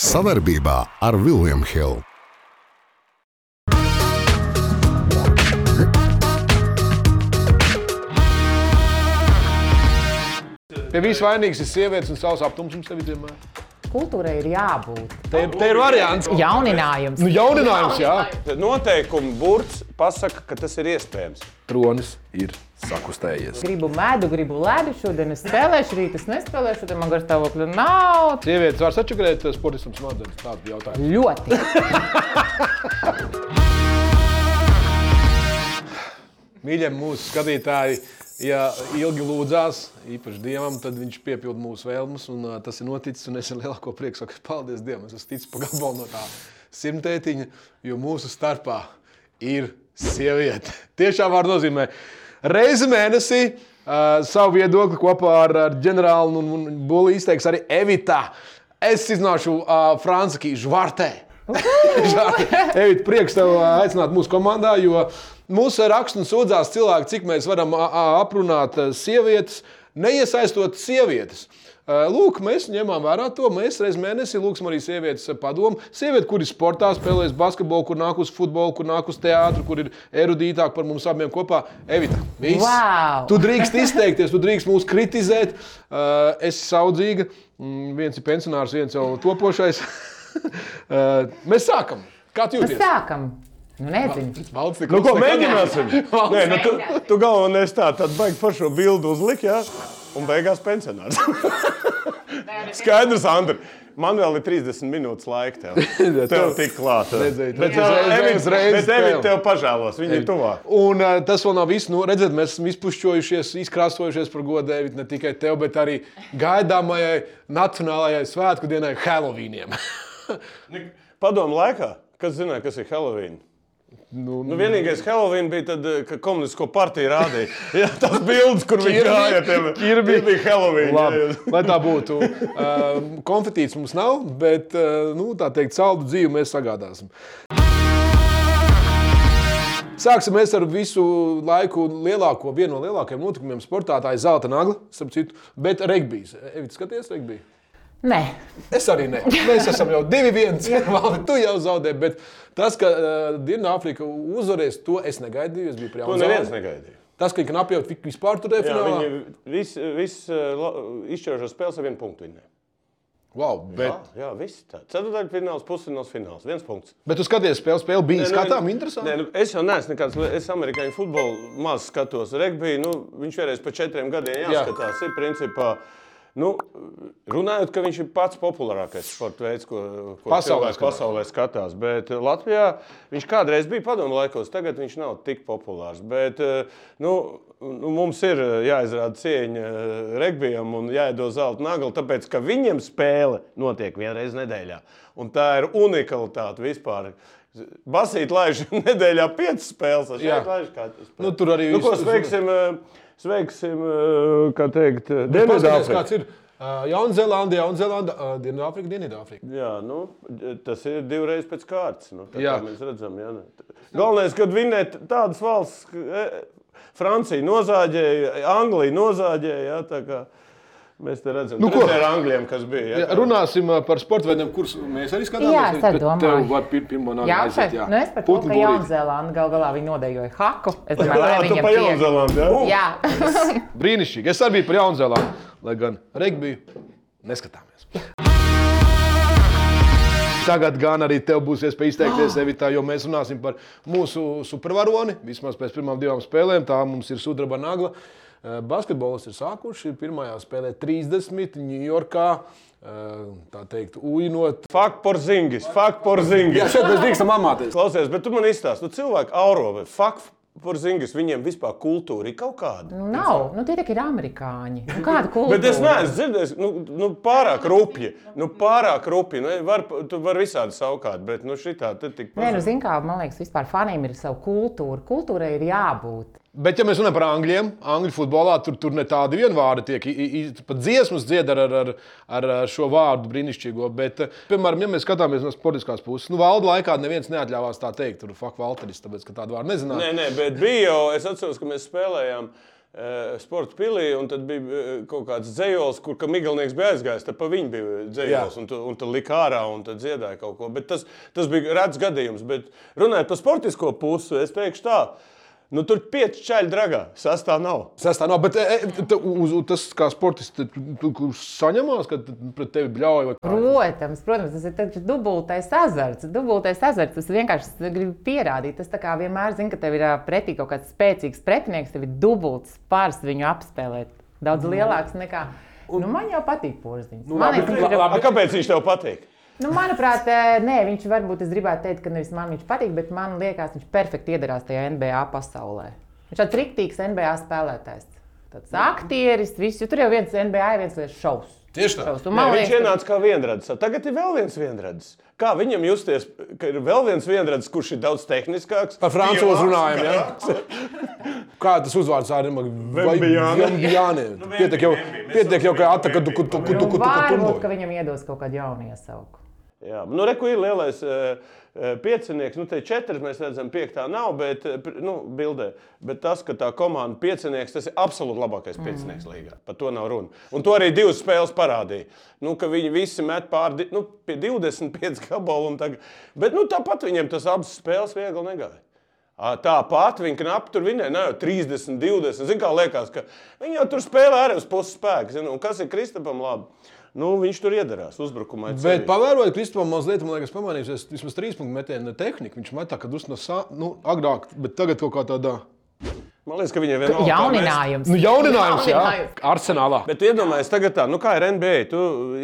Savarbībā ar Vilniem Hilu. Pie viss vainīgs ir sievietes un savs aptumsums tev ir vienmēr. Kultūrai ir jābūt. Te, te ir variants. Jauninājums. Nu, jauninājums, jā. Noteikuma burts pasaka, ka tas ir iespējams. Tronis ir sakustējies. Gribu medu, gribu ledu. Šodien es spēlēšu, rīt es nespēlēšu, tad man gar stāvokļa nav. Sievietes var sačakarēt sportistam smadzenes. Tāds bija jautājums. Ļoti. Mīļie mūsu skatītāji, ja ilgi lūdzās, īpaši Dievam, tad viņš piepilda mūsu vēlmes. Un, uh, tas ir noticis, un es ar lielāko prieku saku, paldies Dievam, es esmu ticis pa gabalu no tā simtētiņa, jo mūsu starpā ir sieviete. Tiešām vārdu nozīmē. Reizi mēnesī uh, savu viedokli kopā ar, ar ģenerāli un, un Bulli izteiks arī Evita. Es iznāšu uh, Franciski žvartē. Evit, prieks tev ā, aicināt mūsu komandā, jo mūsu rakstā sūdzās cilvēki, cik mēs varam ā, ā, aprunāt ā, sievietes, neiesaistot sievietes. Ā, Lūk, mēs ņemām vērā to. Mēs reizē mēnesī lūgsim arī sievietes ā, padomu. Sieviete, kur ir sportā, spēlējas basketbolu, kur nāk uz futbolu, kur nāk uz teātru, kur ir erudītāka par mums abiem kopā. Evita, viss. Wow! Tu drīkst izteikties, tu drīkst mūs kritizēt. Ā, Es esmu saudzīga. Mm, Viens ir pensionārs, viens jau topošais. Ā, Mēs sākam! Kā tu Nu, jūties? Sākam. Nu, nezinu. Valsts Nu, ko nekad- mēģināsim? Nē, nu, tu, tu galvenais tā, tad baigi par šo bildi uzlikt, ja? un beigās pensionārs. Skaidrs, Andri. Man vēl ir 30 minūtes laika. Tev, tev tik klāta. Redzēji, Bet tev- tev- uzreiz, Evi- uzreiz bet Evi tev. tev pažēlos. Viņa ir tuvāk. Un ā, tas vēl nav viss. Nu, redziet, mēs esam izpušķojušies, izkrāsojušies par godu Dēvidu ne tikai tev, bet arī gaidāmajai nacionālajai svētku dienai, Halloweeniem. Padomu laikā, kas zināja, kas ir Halloween? nu, Nu, vienīgais Halloween bija tad, kad komunistisko partiju rādīja. Jā, tas bildes, kur viņi gāja. Kirbi. Kirbi bija Halloween. Labi, jā, jā. lai tā būtu. Uh, konfetīts mums nav, bet uh, nu, tā teikt, saldu dzīvi mēs sagādāsim. Sāksim mēs ar visu laiku lielāko, vienu no lielākajiem notikumiem sportā. Tā ir zelta nagla, starp citu, bet regbijs. Evit, skaties, regbijs. Nē, Es arī ne. Mēs esam jau divi viens. Valdi, tu jau zaudē, bet tas, ka uh, Dienvidāfrika uzvarēs, to es negaidīju. Es biju To priecīgs. Nu, neviens negaidīja. Tas, ka knapi jau tik vispār tur Jā, refinālā. viņi viss vis, izšķirošās spēles ar vienu punktu. Viņai. Wow, bet, Jā, jā, viss tā. Ceturtdaļfināls, pusfināls, fināls. Viens punkts. bet tu skaties, spēle, spēle bija skatām, interesanti. Nē, nu, es jau neesmu nekāds, li- es amerikāņu futbolu maz skatos. Regbija, nu, viņš vienreiz pa četriem gadiem Jā. jāskatās. Ir principā, nu, runājot, ka viņš ir pats populārākais sporta veids, ko, ko Pasaulē cilvēks skatās. pasaulē skatās. Bet eh, Latvijā viņš kādreiz bija padomu laikos, tagad viņš nav tik populārs. Bet, eh, nu, nu, mums ir eh, jāizrāda cieņa eh, regbijam un jāiedod zelta nagla, tāpēc ka viņiem spēle notiek vienreiz nedēļā. Un tā ir unikalitāte vispār. Basīt laiž nedēļā piecas spēles. es Jā. šeit laižu katru spēli. Nu, tur arī nu, ko viss- sveiksim. eh, Sveiksim, eh, kā teikt, Nu, Paskaties, Dienvidāfriku. kāds ir. Uh, Jaunzēlandē, Jaunzēlandē, uh, Dienvidāfrika, Dienvidāfrika. Jā, nu, tas ir divreiz pēc kārtas. Nu, tā, Jā. tā mēs redzam, jā. nu. Galvenais, kad vinēt tādas valsts, ka, e, Francija nozāģēja, Anglija nozāģēja. Jā, tā kā mēs te redzam, nu, ko? ar Anglijiem, kas bija. Jā, Ja, runāsim ā, par sporta veidiem, kurus mēs arī skatāmies. Jā, es arī Bet domāju. Tev var pir pirmo nākt. jā, šeit. Nu, es par to, ka Jaunzēlanda gal galā viņi nodejoja haku. Es domāju, tā kā lai tu viņiem pa piek. Jaunzēlandi. Jā, Jā, Brīnišķīgi. Es arī biju par Jaunzēlandi, lai gan regbiju neskatāmies. Tagad gan arī tev būs iespēja izteikties, Evita, jo mēs runāsim par mūsu supervaroni. Vismaz pēc pirmām divām spēlēm, tā mums ir sudraba nagla. Eh, Basketbolisti ir sākuši pirmajā spēlē 30. Ņujorkā. eh, Tā teikt, uinot. fakt por zingis, fakt por zingis. šeit mēs drīkstam amāties. Klausies, bet tu man izstāsti, nu, cilvēki auro, fakt por zingis, viņiem vispār kultūra ir kaut kāda. nu nav. Nu, tie tikai ir amerikāņi. Nu, kāda kultūra? Bet es neesmu dzirdējis, nu, nu pārāk rupji. Nu, pārāk rupji. Nu, var, tu vari visādi savukārt, bet nu, šī tā tik Nē, nu, zin kā, man liekas, vispār faniem ir sava kultūra. Kultūrai ir jābūt. Bet, ja mēs runājam par angļiem, angļu futbolā tur, tur ne tādi vien vārdi tiek. i- i- i- Pat dziesmas dzied ar, ar, ar, ar ā, šo vārdu brīnišķīgo. Bet, eh, piemēram, ja mēs skatāmies no sportiskās puses, nu, valda laikā neviens neatļāvās tā teikt, tur fuck, Valteris, tāpēc, ka tādu vārdu nezināja. Nē, nē, bet bija jau. Es atceros, ka mēs spēlējām. eh, Sporta pilī, un tad bija eh, kaut kāds dzējols, kur ka Miglinieks bija aizgājis. Tad pa viņu bija dzējols, Jā. un, tu- un tad lika ārā un tad dziedāja kaut ko. Bet tas, tas bija redzams gadījums. Bet runājot par sportisko pusi, es teikšu tā, nu tur pieci čaļi dragā, sastāv nav. Sestā, no, bet e, e, t- uz, uz, tas kā sportists, tad tu, tu, tu saņemās, kad pret tevi bļauj vai kā? Protams, protams, tas ir taču dubultais azarts. Dubultais azarts. Tas vienkārši grib pierādīt. Tas tā kā vienmēr zina, ka tev ir ā, pretī kaut kāds spēcīgs pretinieks, tev ir dubults pāris viņu apspēlēt. Daudz lielāks nekā. Un, nu, man jau patīk porziņš. Nu, man labi, liekas, viņš ir- A, kāpēc viņš tev patīk? Nu, manuprāt, eh, nē, viņš varbūt es gribētu teikt, ka nevis man viņš patīk, bet man liekas, viņš perfekti iedarās tajā NBA pasaulē. Viņš ir tāds rīktīgs NBA spēlētājs. Tāds aktieris, viss, jo tur jau viens NBA ir viens liels šovs. Tieši tā. Šovs. Un Nē, Man viņš liekas, ienāca kā vienradis. Tagad ir vēl viens vienradis. Kā viņam justies, ka ir vēl viens vienradis, kurš ir daudz tehniskāks? Par frančūzi pieaugs, runājam, jā. garāks? Kā tas uzvārds arī Vembijāne. Vembijāne. Pietiek jau, Vembijāne. pietiek jau, ka ataka tu, tu, tu, tu, nu, tu, tu, varbūt, ka tu, tu. viņam iedos kaut kādu jaunu iesauku. Jā, nu, reku ir lielais eh, eh, piecinieks. Nu, te četri mēs redzam, piektā nav, bet, eh, pri- nu, bildē. Bet tas, ka tā komanda piecinieks, tas ir absolūti labākais piecinieks līgā. Par to nav runa. Un to arī divas spēles parādīja. Nu, ka viņi visi met pār, di- nu, pie 25 gabalu un tagad. Bet, nu, tāpat viņiem tas abas spēles viegli negāja. Ā, Tāpat viņa knapi tur vinēja, ne jau 30, 20. Zini, kā liekas, ka viņi jau tur spēlē arī uz puses spēku. Zini, un kas ir Kristapam labi? Nu, viņš tur iedarās uzbrukumā. it Bet sevišķi. pavērojot Kristofam mazliet, man liekas, pamanījis, es vismaz trīs punktu metienu tehniku. Viņš metā, kad uz no sā, nu, agrāk, bet tagad kaut kā tādā. Man liekas, ka viņiem vienalga. kā mēs- Jauninājums. Nu, jauninājums, jā, Jauninājums. arsenālā. Bet iedomājieties, tagad tā, nu kā ir NBA, tu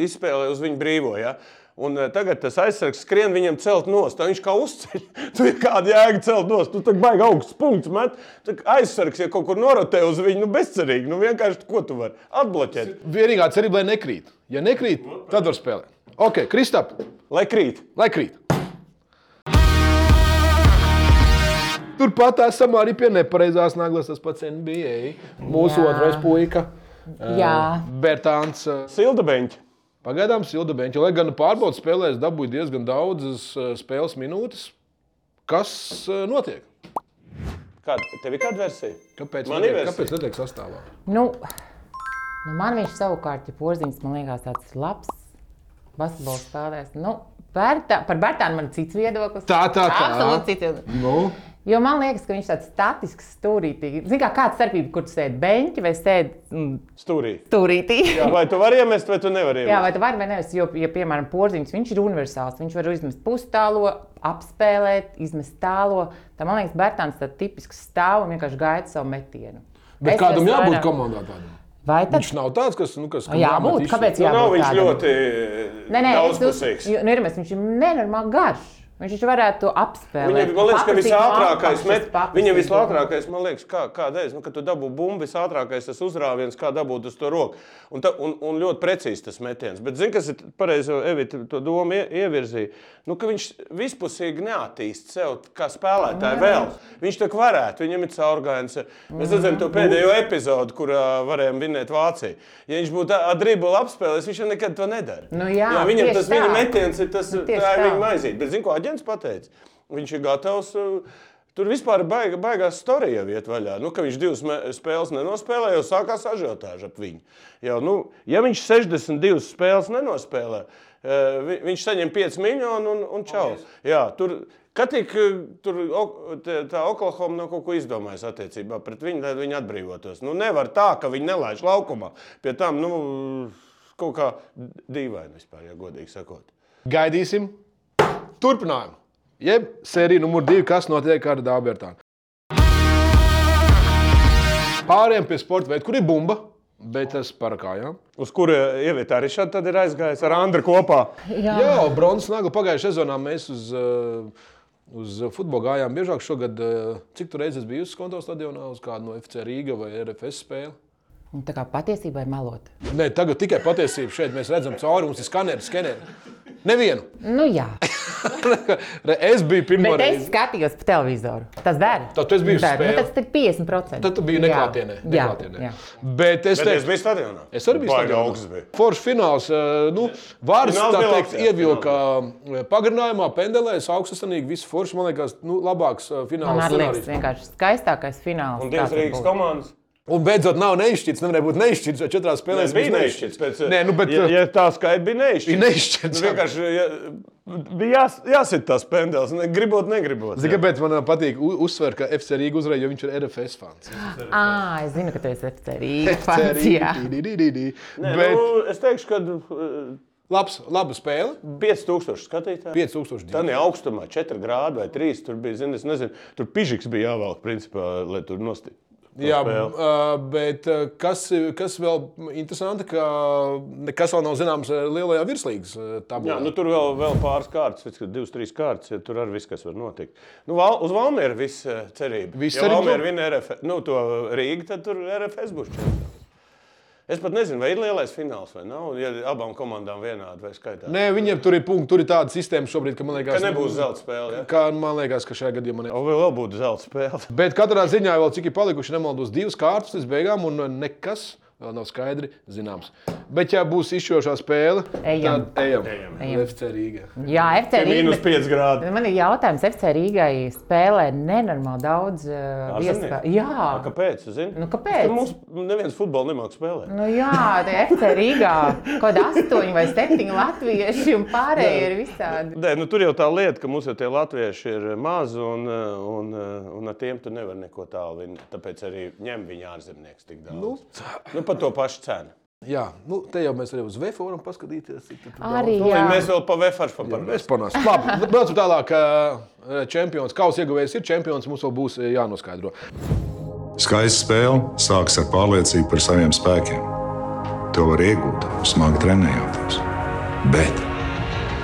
izspēlē uz viņu brīvo. Ja? Un eh, tagad tas aizsargs skrien viņam celt nost. Tā viņš kā uzceļ. Tur ir kāda jēga celt nost. Tu tagad baigi augsts punkts. Met. Tā kā Aizsargs, ja kaut kur norotē uz viņu, nu bezcerīgi. Nu vienkārši ko tu vari atbloķēt? Vienīgā cerība, lai nekrīt. Ja nekrīt, tad var spēlēt. Ok, Kristap, Lai krīt. lai krīt. Turpat esam arī pie nepareizās naglas, tas pats NBA. Mūsu Jā. otrais puika, Jā. Bertāns. eh, Sildabeņķi. Pagaidām Silda Benča, lai gan pārbaudas spēlēs dabūja diezgan daudzas eh, spēles minūtes. Kas eh, notiek? Kāda tev ir kāda versija? Kāpēc? Man netiek- ir versija. Kāpēc netiek sastāvā? Nu, nu man viņš savukārt ir porziņš, man liekas, tāds labs basketbols spēlēs. Nu, Bertā, par Bertānu man ir cits viedoklis. Tā, tā, tā. Absolūti cits viedoklis. Nu, Jo man liekas, ka viņš tāds statisks, stūrītīgi. Zini, kā kāda starpība, kur tu sēdi beņķi vai sēdi mm, Stūrī. stūrītī? Jā. Vai tu vari iemest, vai tu nevari Jā, iemest? vai tu vari vai nē, jo, ja, piemēram, porziņš, viņš ir universāls. Viņš var izmest pusstālo, apspēlēt, izmest tālo. Tā man liekas, Bērtāns tāds tipisks stāv un vienkārši gaida savu metienu. bet Es kādam esmu jābūt vairāk- komandā tādam? Vai tad Viņš nav tāds, kas. Nu, kas kam Jā, jāmet būt. visu. Kāpēc Nu, jā, nav būt viņš tādam? ļoti Nē, nē, es uz- daudzpusīgs. jo, nu, ir, mēs- viņš ir nenormāli garš. Viņš taču varētu to apspēlēt. Viņam, man liekas, ka Papasīt visātrākais, apakšas, met, papasīt viņam apakšas. vislātrākais, man liekas, kā, kādreiz, nu, kad tu dabūji bumbu, visātrākais tas uzrāviens, kā dabūt uz to roku. Un, ta, un, un ļoti precīzi tas metiens. Bet, zini, kas ir pareizi, Evita, to domu ie- ievirzīja? Nu, ka viņš vispusīgi neattīst sev kā spēlētāju vēl. Viņš tā kā varētu, viņam ir caurgājums. Mēs redzam to pēdējo epizodu, kurā varējām vinēt Vāciju. Ja viņš būtu adribuli apspēlējis, viņš jau nekad to nedara. Nu jā, jo viņam tieši tas viņa tā. metiens ir tas, Nu tieši tā ir tā. viņa aiziet. Bet, zinu, ko aģents pateica? Viņš ir gatavs. uh, Tur vispār ir baiga, baigās storija vietā vaļā. Nu, ka viņš divas me- spēles nenospēlēja, jau sākās ažiotāža ap viņu. Jau, nu, ja viņš 62 spēles nenospēlē, eh, vi- viņš saņem 5 miljonus un, un čau. Jā, tur, kad tik eh, tur, O- te- tā Oklahoma nav kaut ko izdomājusi attiecībā pret viņu, lai viņi atbrīvotos. Nu, nevar tā, ka viņi nelaiž laukumā. Pie tam nu, kaut kā dīvaini vispār, ja godīgi sakot. Gaidīsim turpinājumu. Jeb sērija numur divi, kas notiek ar Dārbertānu. Pārējiem pie sporta veida, kur ir bumba, bet tas par kājām. Uz kuru eh, ievietā arī šādi tad ir aizgājis ar Andru kopā. Jā. Jā, bronzas nagla pagājušajā sezonā mēs uz, eh, uz futbolu gājām biežāk. Šogad, eh, cik tur reizes biju uz skonto stadionā, uz kādu no FC Rīga vai RFS spēli? Un Tā kā patiesībai melot. Nē, tagad tikai patiesība šeit. Mēs redzam cauri, mums ir skaneri, skaneri. Nevienu. Nu jā, Es biju pirmo bet es reizi. skatījos pa televizoru. Tas dara. Tad tu esi bijis uz Dara. Nu, spēli. tas ir 50%. Tad tu biji neklātienē. Jā, jā, neklātienē. jā. Bet es Bet teicu, es biju stadionā. Es arī biju Baigi stadionā. augsts. Bija. Foršs fināls. eh, Nu, Vārds Fināls tā bija labs, teikt, jā, ievilka eh, pagarinājumā, pendelēs, augstasanīgi. Viss foršs, man liekas, nu, labāks eh, fināls. Man arī liekas, scenārijs. vienkārši skaistākais fināls. Un divas kāds var Rīgas būt. komandas. Un beidzot, nav neizšķirts. Nevarēja būt neizšķirts, jo četrās spēlēs bija neizšķirts. Pēc, Nē, nu, bet, ja, ja tā skaita bija neizšķirta. Bija neizšķirts, Nu, jā. vienkārši ja, bija jās, jāsit tās pendels, ne, gribot, negribot. Zini, kāpēc man ā, patīk u- uzsver, ka FC Rīga uzvarēja, jo viņš ir RFS fans. Ah, es zinu, ka tu esi FC Rīgas FC fans. Jā, Rīga. Nē, Bet nu, es teikšu, ka uh, labs, laba spēle. 5000 skatītāju. 5000 divi. Tā ne augstumā, 4 grādi vai 3. Tur bija, zini, es nezinu, tur pižiks bija jāvelk, principā, lai tur nostiprinētu. Jā, uh, bet uh, kas, kas vēl interesanti, ka nekas vēl nav zināms uh, lielajā virslīgas uh, tabulā. Jā, nu, tur vēl, vēl pāris kārtas, viss, kad divas, trīs kārtas. Ja, tur arī viss, kas var notikt. Nu, val, uz Valmiera viss eh, cerība. Viss ja cerība Valmiera to- vien RFS, nu, to Rīga, tad tur RFS būs čempions. Es pat nezinu, vai ir lielais fināls vai nav. Ja abām komandām vienādi vai skaitā. Nē, viņiem tur ir punkti, tur ir tāda sistēma šobrīd, ka man liekas, Ka nebūs zelta spēle. Ja? Kā man liekas, ka Nu, šajā gadījumā ne. O, vai vēl būtu zelta spēle? Bet katrā ziņā vēl cik ir palikuši, nemaldos, divas kārtas līdz beigām, un nekas vēl nav skaidri zināms. Bet, ja būs izšķirošā spēle, Ejam. tad ejam. Ejam. FC Rīga. jā FC Mīnus Rīgas. 5 grādi. Man ir jautājums, FC Rīgai spēlē nenormāli daudz uh, Ārzemnieki? iespēju. Jā, Ā, Kāpēc? Zini? Nu, kāpēc? Tur Mums neviens futbolu nemāks spēlēt. nu jā, tā FC Rīgā kaut kāda astoņi vai septiņi latvieši un pārējie ir visādi. Nē, nu, tur jau tā lieta, ka mums jau tie latvieši ir mazi, un, eh, un, eh, un ar tiem tu nevari neko tālu. vinēt. Tāpēc arī ņem viņu ārzemnieks tik daudz. Nu, nu, par to pašu cenu. Jā, nu, te jau mēs arī uz VF varam paskatīties. cik tur daudz. Arī Jā. jā. Nu, Mēs vēl par Vēfāršu parunāsim. Mēs panāsim. Labi, nu, braucam tālāk. ā, Čempions, kausa ieguvējs ir čempions, mums vēl būs ā, jānoskaidro. Skaista spēle sākas ar pārliecību par saviem spēkiem. To var iegūt, smagi trenējoties. Bet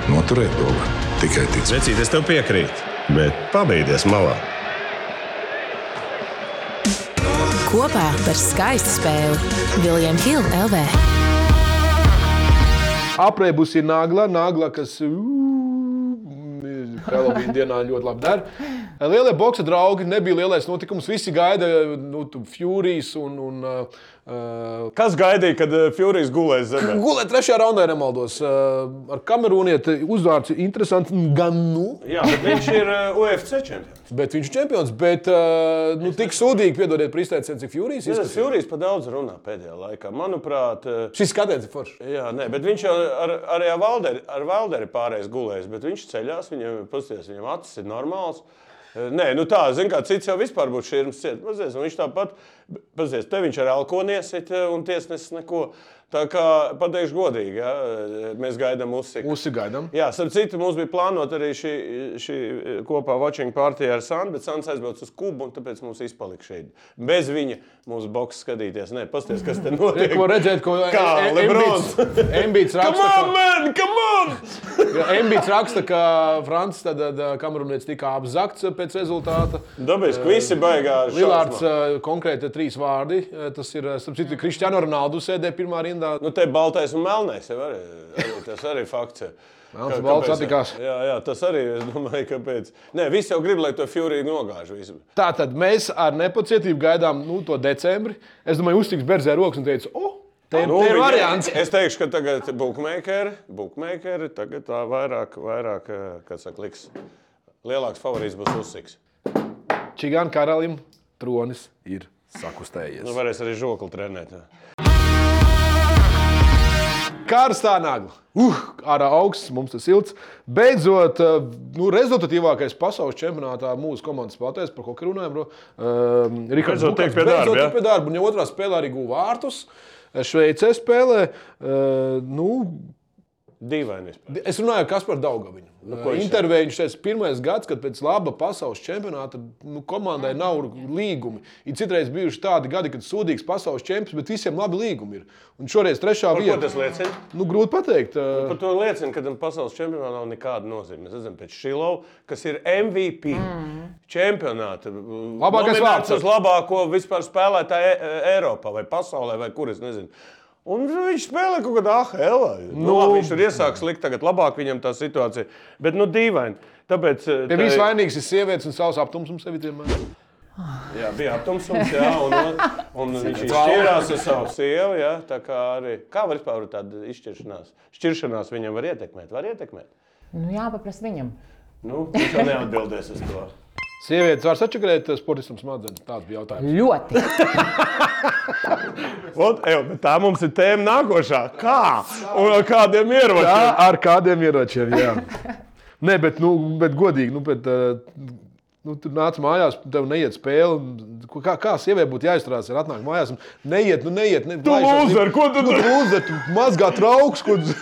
noturēt to var tikai ticēt. Vecīt, es tev piekrītu, bet pabeigties malā. Kopā par skaistu spēli Viljams Hilde LV. Apreibus ir nagla, nagla, kas Helovīna dienā ļoti labi dara. Lielie boxe draugi nebija lielais notikums. Visi gaida nu, tu Furijas un, un uh, Kas gaidīja, kad Furijas gulēs zemē? Gulēt trešajā raundā, ja nemaldos. Uh, ar kamerūnieti uzvārds ir interesants. Gan nu, Jā, bet viņš ir eh, UFC čempions. bet viņš ir čempions. Bet uh, nu, tik sūdīgi, piedodiet, par izteicienu, cik Furijas Tas izskatās. Furijas pa daudz runā pēdējā laikā. Manuprāt, eh, Šis skatījums ir foršs. Jā, nē, bet viņš jau ar, arī ar Valderi, ar Valderi pārējais gulējis, bet viņš ceļās, viņam ir pusties, viņam acis ir normāls. Eh, Nē, nu tā, zina, kā cits jau vispār būtu šis mākslinieks. Viņš tāpat, pazies, te viņš ar alkoni iesit eh, un tiesnesis neko. Tā kā, pateikšu godīgi, ja, eh, mēs gaidām uzsiku. Mums ir gaidām. Jā, starp citu, mums bija plānota arī šī, šī eh, kopā watching partija ar Sandu, bet Sands aizbrauca uz Kubu, un tāpēc mums izpalika šeit. Bez viņa mums boks skatīties. Nē, pasties, kas te notiek. Ko redzēt, ko Kā Lebrons. Embīts raksta. ka- man, come on! Embīts raksta, ka Frančs tad ā, kamerūnietis tika apzakts eh, pēc rezultāta. Dabīs, ka visi baigā ar Lielārds šausmām. ā, konkrēti trīs vārdi. ā, Tas ir, ā, starp citu, Kristiāna Ronaldu sēdē pirmā rindā. Nu, te baltais un melnais jau arī, arī tas arī fakts. ir. Melns Kā- un balts kāpēc- attikās. Jā, jā, tas arī es domāju, kāpēc. Nē, visi jau grib, lai to Furiju nogāž. Visu. Tātad mēs ar nepacietību gaidām nu, to decembri. Es domāju, uztiks Berzē rokas un teica, o, te ir, nu, te ir viņi- variants. Es teikšu, ka tagad bookmakeri, bookmakeri tagad tā vairāk, vairāk, eh, kā saka, liks. Lielāks favorīts būs Usiks. Čigāna karalim tronis ir sakustējies. Nu, varēs arī žokli trenēt. jā. Karstā nagla. Uh, ārā augsts, mums tas silts. Beidzot, eh, nu, rezultatīvākais pasaules čempionātā mūsu komandas spēlētājs, par ko ka runājam, um, Rikards Beidzot tiek Bukas. pie darba, Beidzot jā? tiek pie darba. Viņa otrā spēlē arī guva vārtus. Šveicē spēlē. eh, Nu, Dīvaini. vispār. es runāju ar Kasparu Daugaviņu. Nu, ko viņš Intervijā viņš teica, pirmais gads, kad pēc laba pasaules čempionāta nu, komandai nav līgumi. Ir citreiz bijuši tādi gadi, kad sūdīgs pasaules čempions, bet visiem labi līgumi ir. Un šoreiz trešā Par ko vieta. tas liecina? Nu, grūti pateikt. eh, Par to liecina, ka tam pasaules čempionātam nav nekāda nozīme. Mēs redzam, pēc Šilovas, kas ir MVP mm. čempionāta. Labākais nominēts vārds. uz labāko vispār spēlētāju E- E- Eiropā vai pasaulē, vai kur es nezinu. Un viņš spēlē kaut kādā AHL. Nu, nu, labi, viņš tur iesāks likt, tagad labāk viņam tā situācija. Bet, nu, dīvaini. Tāpēc eh, Ja viss vainīgs ir sievietes un savs aptumsums sevi eh. vienmēr. jā, bija aptumsums, jā, un, un, un viņš izšķirās ar savu sievu. Jā, tā kā arī, kā var vispār tāda izšķiršanās? Šķiršanās viņam var ietekmēt, var ietekmēt. Nu, jā, paprasti viņam. Nu, viņš jau neatbildēs uz to. Sievietes var sačakarēt eh, sportistam smadzenes. Tāds bija jautājums. Ļoti. Ot, ej, bet tā mums ir tēma nākošā. Kā? Un ar kādiem ieročiem? Jā, ar kādiem ieročiem. Jā. Nē, bet, nu, bet godīgi, nu, bet, eh, nu, tur nāca mājās, tev neiet spēle. un ko- Kā, kā sieviete būtu jāizstrādā, ir atnāk mājās un neiet, nu neiet. Ne, tu lūzer, ko tu tur tur- lūdzi? Tu mazgā trauks, ko tu.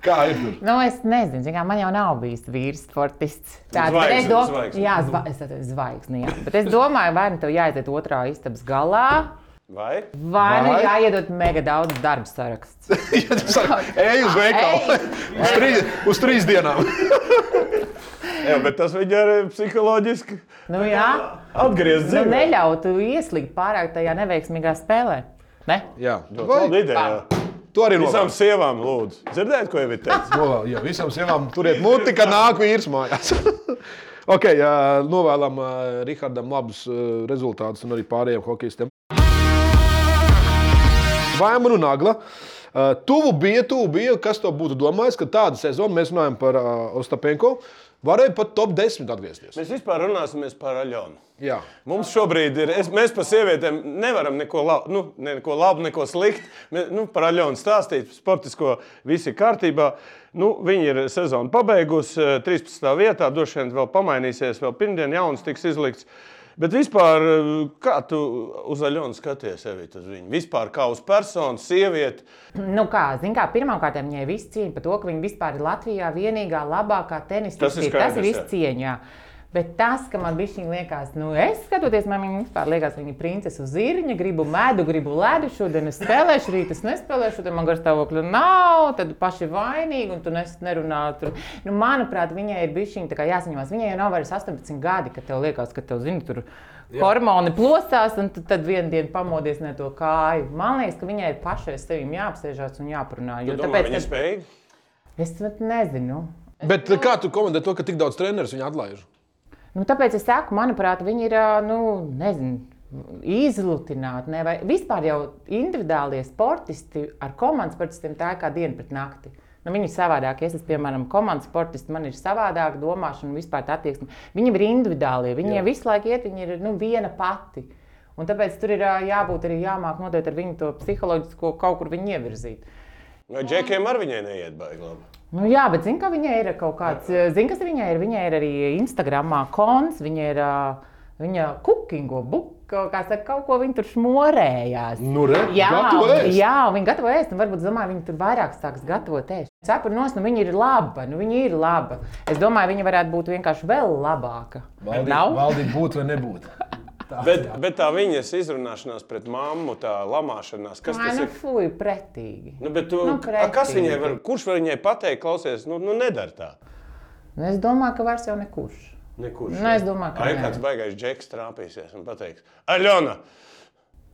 Kā ir? tur? Nu, es nezinu, zin kā, man jau nav bijis vīrs, sportists. Tāds, bet Zvaigzne, es dom- zvaigzne. Jā, zva... es esmu zvaigzne. Jā. Bet es domāju, vai nu tev jāiziet otrā istabas galā, Vai? vai nu Vai? jāiedod mega daudz darba saraksts. Ja tu saki, Ej uz veikalu. Uz, trīs, uz trīs dienām. Jā, bet tas viņa arī psiholoģiski Nu, jā, atgriezt nu, dzīvē. neļautu ieslīgt pārāk tajā neveiksmīgā spēlē. Ne? Jā, Tāda ideja. Tu arī Visām novēl. sievām lūdzu. Dzirdēt, ko jau ir teicis? Novēl, Nu, jā, visām sievām turiet muti, ka nāk vīrs mājās. ok, jā, novēlam uh, Rihardam labus uh, rezultātus un arī pārējiem hokeistiem. Vaimanu un Nagla. Uh, tuvu bija, tuvu bija. Kas to būtu domājis, ka tādu sezonu mēs runājam par uh, Ostapenko? Varēja pat top 10 atgriezties. Mēs vispār runāsimies par Aļonu. Jā. Mums šobrīd ir. Es, mēs par sievietēm nevaram neko labu, nu, ne neko, labu, neko sliktu. Mē- Nu, par Aļonu stāstīt, sportisko viss ir kārtībā. Nu, viņa ir sezona pabeigusi, eh, 13. vietā, droši vien vēl pamainīsies, vēl pirmdien jauns tiks izlikts. Bet vispār, eh, kā tu uz Aļonu skaties, Evīt, uz viņu? Vispār kā uz personu, sievieti. Nu, kā, zin kā, pirmkārt, viņai viss cieņa par to, ka viņa vispār ir Latvijā vienīgā labākā tenisa Tas ir izcīnītāja. Tas ir skaidrs, viss cieņā. Bet tas, ka man bija šī liekas, nu, es skatoties, man viņa vispār liekas, viņa ir princese uz zirņa, gribu medu, gribu ledu, šodien es spēlēšu, rīt es nespēlēšu, tad man gar stāvokļa nav, tad paši vainīgi, un tu nes, nerunā tur. Nu, manuprāt, viņai ir bijusi šī jāsaņemās. Viņai jau nav vairs 18 gadi, kad tev liekas, ka tev zini, tur hormoni plosās, un tu tad vienā dienā pamodies ne to kāju. Man liekas, ka viņai ir pašai sevim jāapsēžās un jāprunā. Tu Jo, domā, tāpēc, viņa ka... spēja? Es pat nezinu. Bet eh, kā tu komentē to, ka tik daudz treneris viņu atlaiž? Nu, tāpēc es saku, manuprāt, viņi ir ā, nu, nezinu, izlutināti. Ne? Vai vispār jau individuālie sportisti ar komandas sportistiem tā ir kā diena pret nakti. Nu, viņi ir savādāk. Es esmu, piemēram, komandas sportists, man ir savādāka domāšana un vispār tā attieksme. Viņiem ir individuālie, viņiem visu laiku iet, viņi ir nu, viena pati. Un tāpēc tur ir ā, jābūt arī jāmāk noteikti ar viņu to psiholoģisko kaut kur viņu ievirzīt. Vai džekiem ar viņai neiet baigi? Labi? Nu, jā, bet zini, ka viņai ir kaut kāds. eh, Zini, kas viņai ir? Viņai ir arī Instagram konts, viņa ir. ā, Viņa kukingo, buko, kā saka, kaut ko viņa tur šmorējās. Nu, re, jā, gatavo ēst. jā, viņa gatavo ēst. un Varbūt, domāju, viņa tur vairāk sāks gatavot ēst. Cepurnos, nu viņa ir laba, nu viņa ir laba. Es domāju, viņa varētu būt vienkārši vēl labāka. Vai nav? Valdība būtu vai nebūtu? Bet, bet tā viņas izrunāšanās pret mammu, tā lamāšanās, kas Ai, tas nu, ir? fuj, pretīgi. Nu, bet, tu, Nu, nu, a, kas pretīgi. viņai var, kurš var viņai pateikt, klausies, nu, nu nedara tā? Nu, es domāju, ka vairs jau nekurš. Nekurš. Nu, es domāju, ka Ai, nē. kāds baigais džeks trāpīsies un pateiks, Aļona,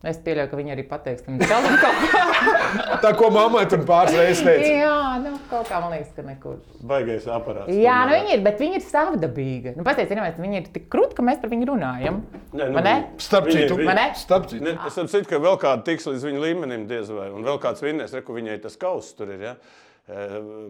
Es pieļauju, ka viņa arī pateiks tam čalam kaut ko. Tā ko mammai tur pāris reizes teica. Jā, nu, kaut kā man liekas, ka nekurš. baigais aparāts. Jā, nu viņi ir, bet viņi ir savdabīgi. Nu, Pasakiet, kāpēc viņi ir tik krūti, ka mēs par viņu runājam? nu, Nē, nu, Vai ne? Starp Viņai- citu, viņai- Vai ne? starp citu. Ne, es saprotu, ka vēl kāda tiks līdz viņa līmenim, diez vai. Un vēl kāds vinnēs, reku viņai tas kauss tur ir. Ja? E,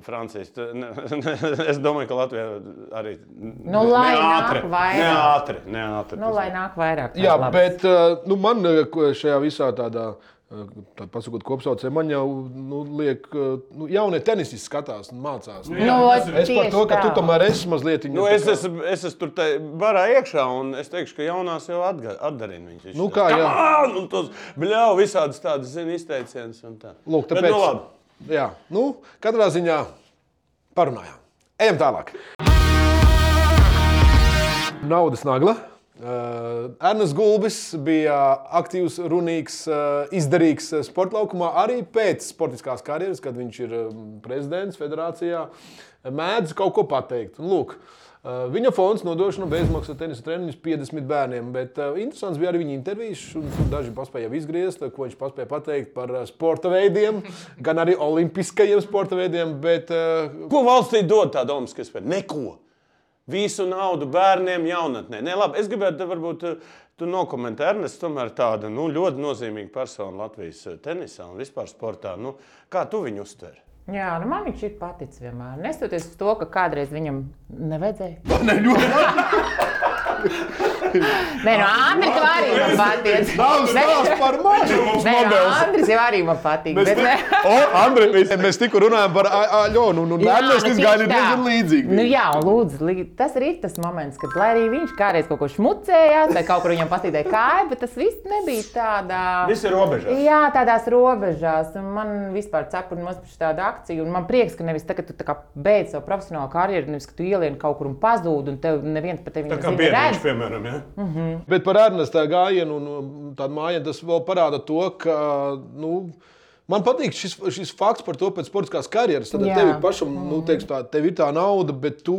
Francijas. tu- ne- ne- Es domāju, ka Latvijā arī. Nu, lai nāk ātri. Ne vairāk. ātri. Ne ātri Nu, tas lai ir. nāk vairāk. Jā, labi. bet uh, nu, man uh, ko šajā visā tādā. uh, Tā pasakot, kopsaucēji man jau nu, liek, uh, nu, jaunie tenisisti skatās un mācās. Nu, Nu, es par to, ka tieši tu tā. tomēr esi mazliet viņa. Nu, es esmu es es tur te barā iekšā, un es teikšu, ka jaunās jau atga- atdarina viņas. Nu, kā jā. Un tos bļauj visādas tādas, zini, izteicienas un tā. Lūk, Bet, tāpēc, nu, labi. jā, nu, katrā ziņā parunājām. Ejam tālāk. Naudas nagla. Uh, Ernsts Gulbis bija aktīvs, runīgs, uh, izdarīgs uh, sporta laukumā arī pēc sportiskās karjeras, kad viņš ir um, prezidents federācijā. Mēdz kaut ko pateikt. Un, lūk, uh, viņa fonds nodošana bezmaksas tenisa treniņus 50 bērniem. Bet uh, interesants bija arī viņa intervijas. un tur Daži paspēja jau izgriezt, uh, ko viņš paspēja pateikt par uh, sporta veidiem, gan arī olimpiskajiem sporta veidiem. Bet, uh, Ko valstī dod tāda Olimpiskā spēle? Neko. Visu naudu bērniem jaunatnē. Nē, labi, es gribētu, te varbūt eh, tu nokomentē, Ernests, tomēr tāda nu, ļoti nozīmīga persona Latvijas eh, tenisā un vispār sportā. Nu, kā tu viņu uztver? Jā, nu man viņš ir paticis vienmēr. Neskatoties uz to, ka kādreiz viņam nevajadzēja. ne, ļoti, Nē, no Andris jau arī man patīk. Daudz stāsta par mani! Nē, no Andris jau arī man patīk. Bet, ne. O, Andri, mēs, mēs tikko runājām par Aļonu, un Nērnēs nu, izgāja tieši tā. diezgan līdzīgi. Nu, jā, un lūdzu, li- tas arī ir tas moments, kad, lai arī viņš kādreiz kaut ko šmucējās, vai kaut kur viņam patīdēja kāja, bet tas viss nebija tādā. Viss ir robežās. Jā, tādās robežās. Un man vispār cepura maz par šādu akciju. Un man prieks, ka nevis tagad tu tā kā beidz savu profesionālo karjeru, nevis ka tu ielieni kaut kur un pazūd, un tev neviens par tevi Tā kā nezina, biedrs, redz. piemēram, ja? Bet par Ernesta gājienu un tādu mājiņu tas vēl parāda to, ka. Nu, Man patīk šis, šis fakts par to pēc sportiskās karjeras. Tad Jā. tev pašam, nu, teiks, tā, tev ir tā nauda, bet tu,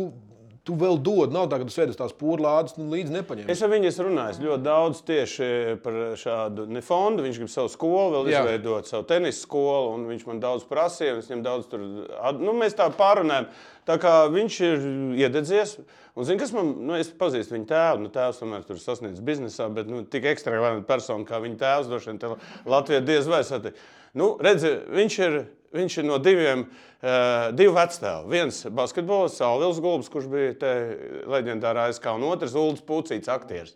tu vēl dod. Nav tā, ka tu sēdi uz tās pūlādes, nu, līdzi nepaņem. Es ar viņu esmu runājis ļoti daudz tieši eh, par šādu ne fondu. Viņš grib savu skolu, vēl Jā. izveidot savu tenisa skolu, un viņš man daudz prasīja. un Es viņam daudz tur, at- nu, mēs tā pārunājām. Tā kā viņš ir iededzies, un zini, kas man, nu, es pazīstu viņa tēvu, nu, tēvs tomēr tur sasniedz biznesā, bet, nu, tik ekstravaganta persona kā viņa tēvs, droši vien, te Latvijā diez vai sati. Nu, redzi, viņš ir. Viņš ir no diviem, uh, divu vecāku. Viens basketbolists, Alvils Gulbs, kurš bija te leģendārā ASK, un otrs Ulus Pucīts, aktieris.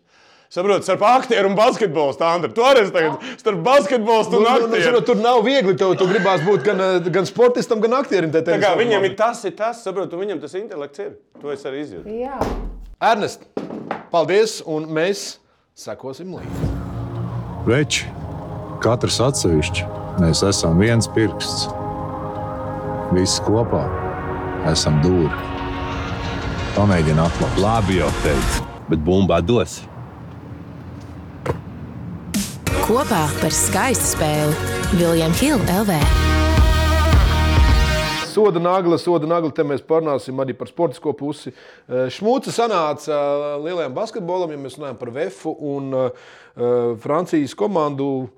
Saprotiet, starp aktieru un basketbolistu, Andri, tu arī esi tagad starp basketbolistu nu, un nu, aktieru. saprot, tur nav viegli. Tev, tu gribās būt gan, eh, gan sportistam, gan aktierim. te Tā kā tenisā. viņam ir tas, ir tas, saprotiet, viņam tas intelekts ir. To es arī izjūtu. Jā, Ernest, paldies, un mēs sekosim līdzi. Veči, katrs atsevišķi, mēs esam viens pirksts. Visi kopā esam dūri. Pamēģini atlapt. Labi jau teicu, bet bumbā dos. Kopā par skaistu spēli Viljams Hilde LV. Soda nagla, soda nagla, te mēs parunāsim arī par sportisko pusi. Eh, Šmūce sanāca eh, lielajam basketbolam, ja mēs runājam par Vēfu un eh, eh, Francijas komandu.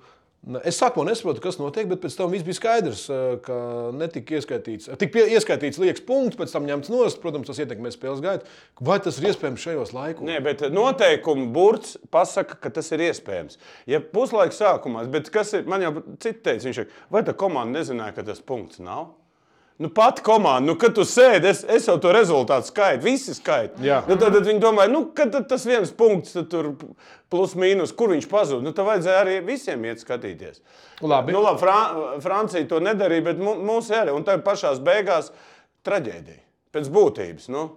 Na, Es sākumā nesaprotu, kas notiek, bet pēc tam viss bija skaidrs, eh, ka netika ieskaitīts. eh, Tik pie- ieskaitīts liekas punkts, pēc tam ņemts nost. Protams, tas ietekmē spēles gaitu. Vai tas ir iespējams šajos laikos? Nē, bet noteikuma burts pasaka, ka tas ir iespējams. Ja puslaika sākumā, bet kas ir, man jau cits teica, viņš saka, vai tā komanda nezināja, ka tas punkts nav? Nu, pat komanda, nu, kad tu sēdi, es, es jau to rezultātu skaitu, visi skaitu. Jā. Nu, tad, tad viņi domāja, nu, kad tad tas viens punkts, tad tur plus mīnus, kur viņš pazuda. Nu, tad vajadzēja arī visiem iet skatīties. Labi. Nu, labi Fran Francija to nedarīja, bet mu- mūsu arī. Un tā pašās beigās traģēdija. Pēc būtības. Nu.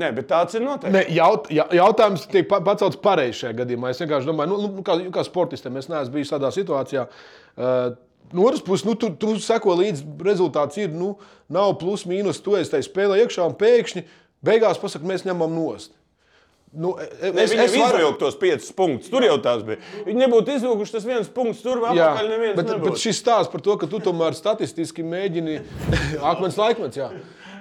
Nē, bet tāds ir noteikti. Ne, jaut, ja- jautājums tiek pa- pacelts pareizi šajā gadījumā. Es vienkārši domāju, nu, nu, kā, kā sportistam, es neesmu bijis tādā situācijā. Uh, No otras puses, nu, tu, tu seko līdzi rezultāts, ir nu, nav plus, mīnus, tu esi tajā spēlē iekšā un pēkšni beigās pasakā, mēs ņemam nost. Nu, e- e- Es, es izvilku tos piecus punktus. Tur jau tās bija. Viņi nebūtu izvilkuši tas viens punkts, tur vēl Jā, apakaļ neviens. bet, bet šis stāsts par to, ka tu tomēr statistiski mēģini akmens laikmets. Jā.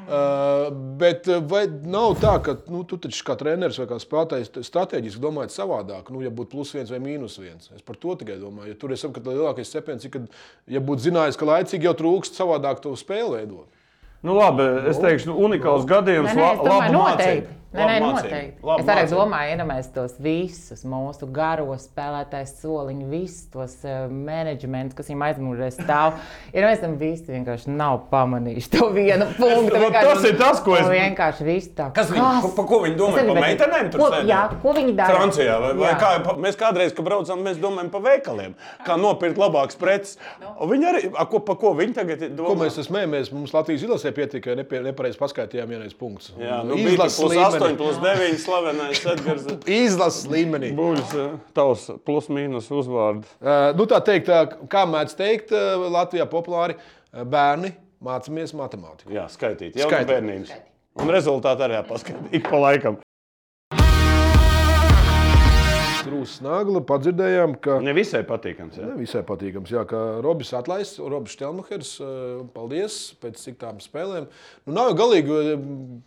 Uh, bet uh, vai nav tā, ka nu, tu taču kā treneris vai kā spēlētājs t- strateģiski domājat savādāk, nu, ja būtu plus viens vai mīnus viens? Es par to tikai domāju. Ja tur es saprotu, ka lielākais cepiens ir, kad, ja būtu zinājis, ka laicīgi jau trūkst savādāk to spēli veidot. Nu, labi, es teikšu, nu, unikāls gadījums. nē, nē, es domāju, noteikti. Nē, nē, Labi noteikti. Labi es arī mācība. domāju, iedomājieties tos visus mūsu garo spēlētājus, soliņus, visus tos uh, menedžmentus, kas viņam aizmugurē stāv. Ir mēs tam visi vienkārši nav pamanījuši to vienu punktu. Vot Vienkārši- tas ir tas, ko es- Nu, Vienkārši viss tā. Kas viņi- ko- pa ko viņi domā? Es arī Pa bet- meitenēm tur ko- sēdēt? Jā, ko viņi dara? Francijā vai, vai Jā. kā pa- mēs kādreiz, kad braucām, mēs domājam par veikaliem, kā nopirkt labākas preces. Nu. Un Viņi arī, a, ko, pa ko viņi tagad domā? Ko mēs esam mēmējies? Mums Latvijas izlasē pietika, ka nepareizi paskaitījām vienais punkts. Jā, nu, Izlases izlases plus līmenī. 8, plus 9 slavenais Edgars. Izlases līmenī. Buļs, eh, tavs plus mīnus uzvārds. Uh, nu, tā teikt, uh, kā mēdz teikt, uh, Latvijā populāri uh, bērni mācāmies matemātiku. Jā, skaitīt, jau no Skaitīt. bērnības. Un rezultāti arī jāpaskatās ik pa laikam. Krūzes nagla padzirdējām, ka Ne Nu, visai patīkams. Jā. Ne, visai patīkams, jā, ka Robis atlaists, Robis Štelmachers, uh, paldies pēc cik tām spēlēm. Nu, nav jau galīgi uh,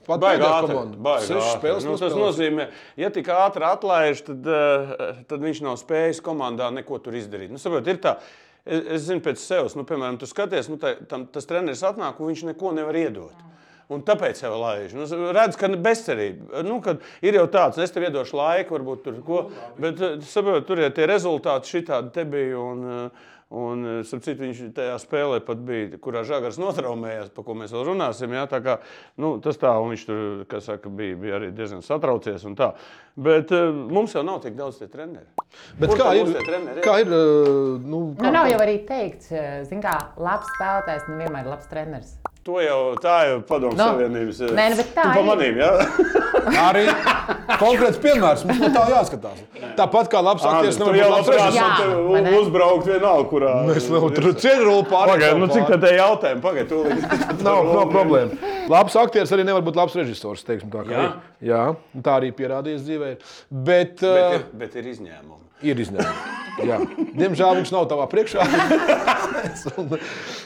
pat Baigā pēdējā Nu, ātri, komanda. baigā Sešas ātri. spēles Nu, tas nospēlēts. nozīmē, ja tik ātri atlaiž, tad, eh, tad viņš nav spējis komandā neko tur izdarīt. Nu, saprot, ir tā, es, es zinu pēc sevis, nu, piemēram, tu skaties, nu, tā, tam, tas treneris atnāk un viņš neko nevar iedot. Un tāpēc jau laiž. Nu, redz, ka bezcerība. Nu, kad ir jau tāds, es tev iedošu laiku, varbūt tur ko. Bet, eh, saprot, tur ir tie rezultāti, šitādi te bija. Un, eh, Un, eh, starp citu, viņš tajā spēlē pat bija, kurā žagars notraumējās, par ko mēs vēl runāsim. Jā, tā kā, nu, tas tā, un viņš tur kā saka, bija, bija arī diezgan satraucies. un tā. Bet eh, mums jau nav tik daudz tie treneri. Bet Kur kā tad ir? mums tie treneri ir? Kā ir uh, nu, Nu, nav jau arī teikts, eh, zin kā, labs spēlētājs nevienmēr ir labs treneris. To jau tā jau padomu Nu, savienības. eh, nē, nu, bet tā ir. tu pamanīji, jā? arī konkrēts piemērs. Mums no tā jāskatās. Tāpat kā labs aktieris, Tur nav jau jau labs labprāt, režisors. Jā, un vai tev ne? uzbraukt vienalga, kurā. Es vēl tur cienīju pāri. Pagaid, nu cik tad te jautājumi? Pagaid, tu Nav, nav problēma. Labs aktieris arī nevar būt labs režisors. teiksim Tā, kā Jā? ir. Jā, un tā arī pierādījis dzīvē. ir. Bet, Bet bet ir, bet ir izņēmumi. ir izņēmumi. Jā. Diemžēl viņš nav tavā priekšā. Es un-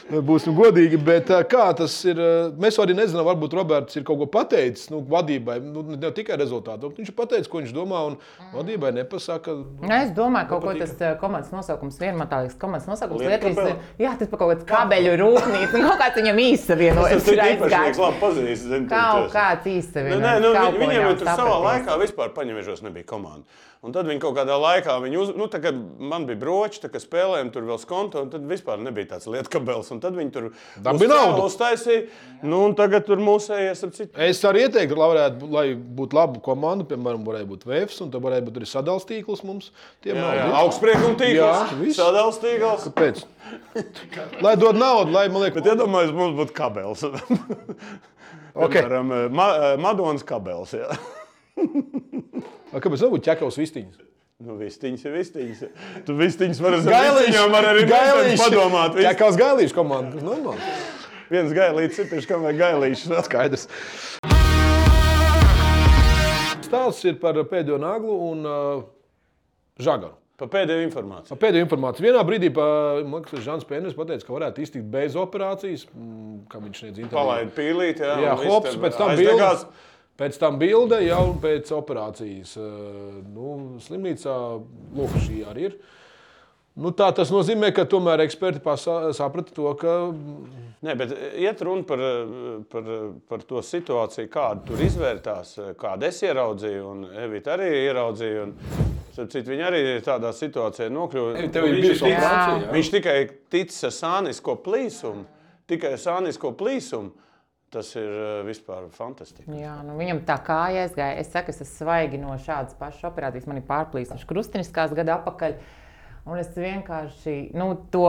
eh, Būsim godīgi, bet eh, kā tas ir? eh, Mēs arī nezinām, varbūt Roberts ir kaut ko pateicis nu, vadībai, nu, ne tikai rezultātu. Viņš ir pateicis, ko viņš domā, un vadībai nepasaka. Nu, es domāju, ka tas eh, komandas nosaukums vienmēr tāds - komandas nosaukums Lietuvas. Lietkabele. Jā, tas par kaut kādu kabeļu rūpnīcu. nu, Kaut kāds viņam Tas īsavienojas. tur īpašnieks labi pazīst. zini, tur Kaut tas- kāds Nu, īsavienojums. nē, nu, kaut viņ, ko viņiem nav jau tur savā sapratis. laikā vispār paņemiežos nebija komanda. Un tad viņi kaut kādā laikā, viņi uz, nu, tā, kad man bija broči, tad spēlējām tur vēl skonto, un tad vispār nebija tāds lietkabels. Un tad viņi tur Dabī uzcēla, naudu. uztaisīja. Nu, un tagad tur mūsējies ar citu. Es arī ieteiktu, lai, varētu, lai būtu laba komanda, piemēram, varētu būt Vēfs, un tā varētu būt arī sadalstīkls mums. Tiem Jā, nav jā, līdz- augstsprieguma Jā, tīkls, viss. sadalījums tīkls. Pēc. Lai dod naudu, lai man liekas, Bet iedomājieties, mums būtu kabelis. Okei. Piemēram, eh, ma Madonas kabelis. jā. A, kāpēc nebūtu ķekavs vistiņas? Nu, vistiņas ir vistiņas. Tu vistiņas vari Gailīši, redzēt, jau var arī gailīši. padomāt. Jā, Vist, kā uz gailīšu komandu. Tas normāli. viens gailīts, ir tieši kā gailīšs. Skaidrs. Stāsts ir par pēdējo naglu un uh, žagaru. Pa pēdējo informāciju. Pa Pēdējo informāciju. Vienā brīdī pa- man liekas, Žants Pēners pateica, ka varētu iztikt bez operācijas, mm, kā viņš sniedz interviju. Palaid pīlīt, jā. Jā, un viss hops, tev pēc tam bilde. aizdegās. Pēc tam bilde jau pēc operācijas. eh, Nu, slimnīcā lūk, šī arī ir. Nu, tā tas nozīmē, ka tomēr eksperti pasā, saprata to, ka Nē, bet iet runa par, eh, par, eh, par to situāciju, kāda tur izvērtās, eh, kādu es ieraudzīju, un Evita arī ieraudzīja. Un, starp citu, viņa arī tādā situācijā nokļuva. Tev ir Viņš bijusi ticis- operācija, jā? Viņš tikai ticis ar sānisko plīsumu, tikai ar sānisko plīsumu. Tas ir eh, vispār fantastiski. Jā, nu viņam tā kā aizgāja. Es saku, es esmu svaigi no šādas pašas operācijas. Man ir pārplīsuši krustveida gada atpakaļ. Un es vienkārši nu, to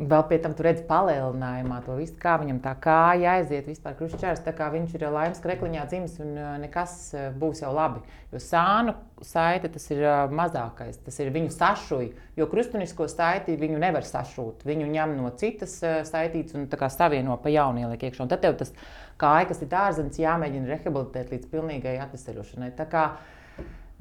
vēl pie tam redzu palielinājumā, to visu, kā viņam tā kā jāaiziet vispār krustveida. Tā kā viņš ir eh, laimes krekliņā dzimis un ā, nekas ā, būs jau labi. Jo sānu saite tas ir ā, mazākais, tas ir viņu sašuja. Jo krustveida saiti viņu nevar sašūt. Viņu ņem no citas ā, saitītes un tā kā savieno pa jaunu ieliek iekšā. Un tad tev tas kāja, kas ir ārzemēs, jāmēģina rehabilitēt līdz pilnīgai atvesaļošanai. Tā kā,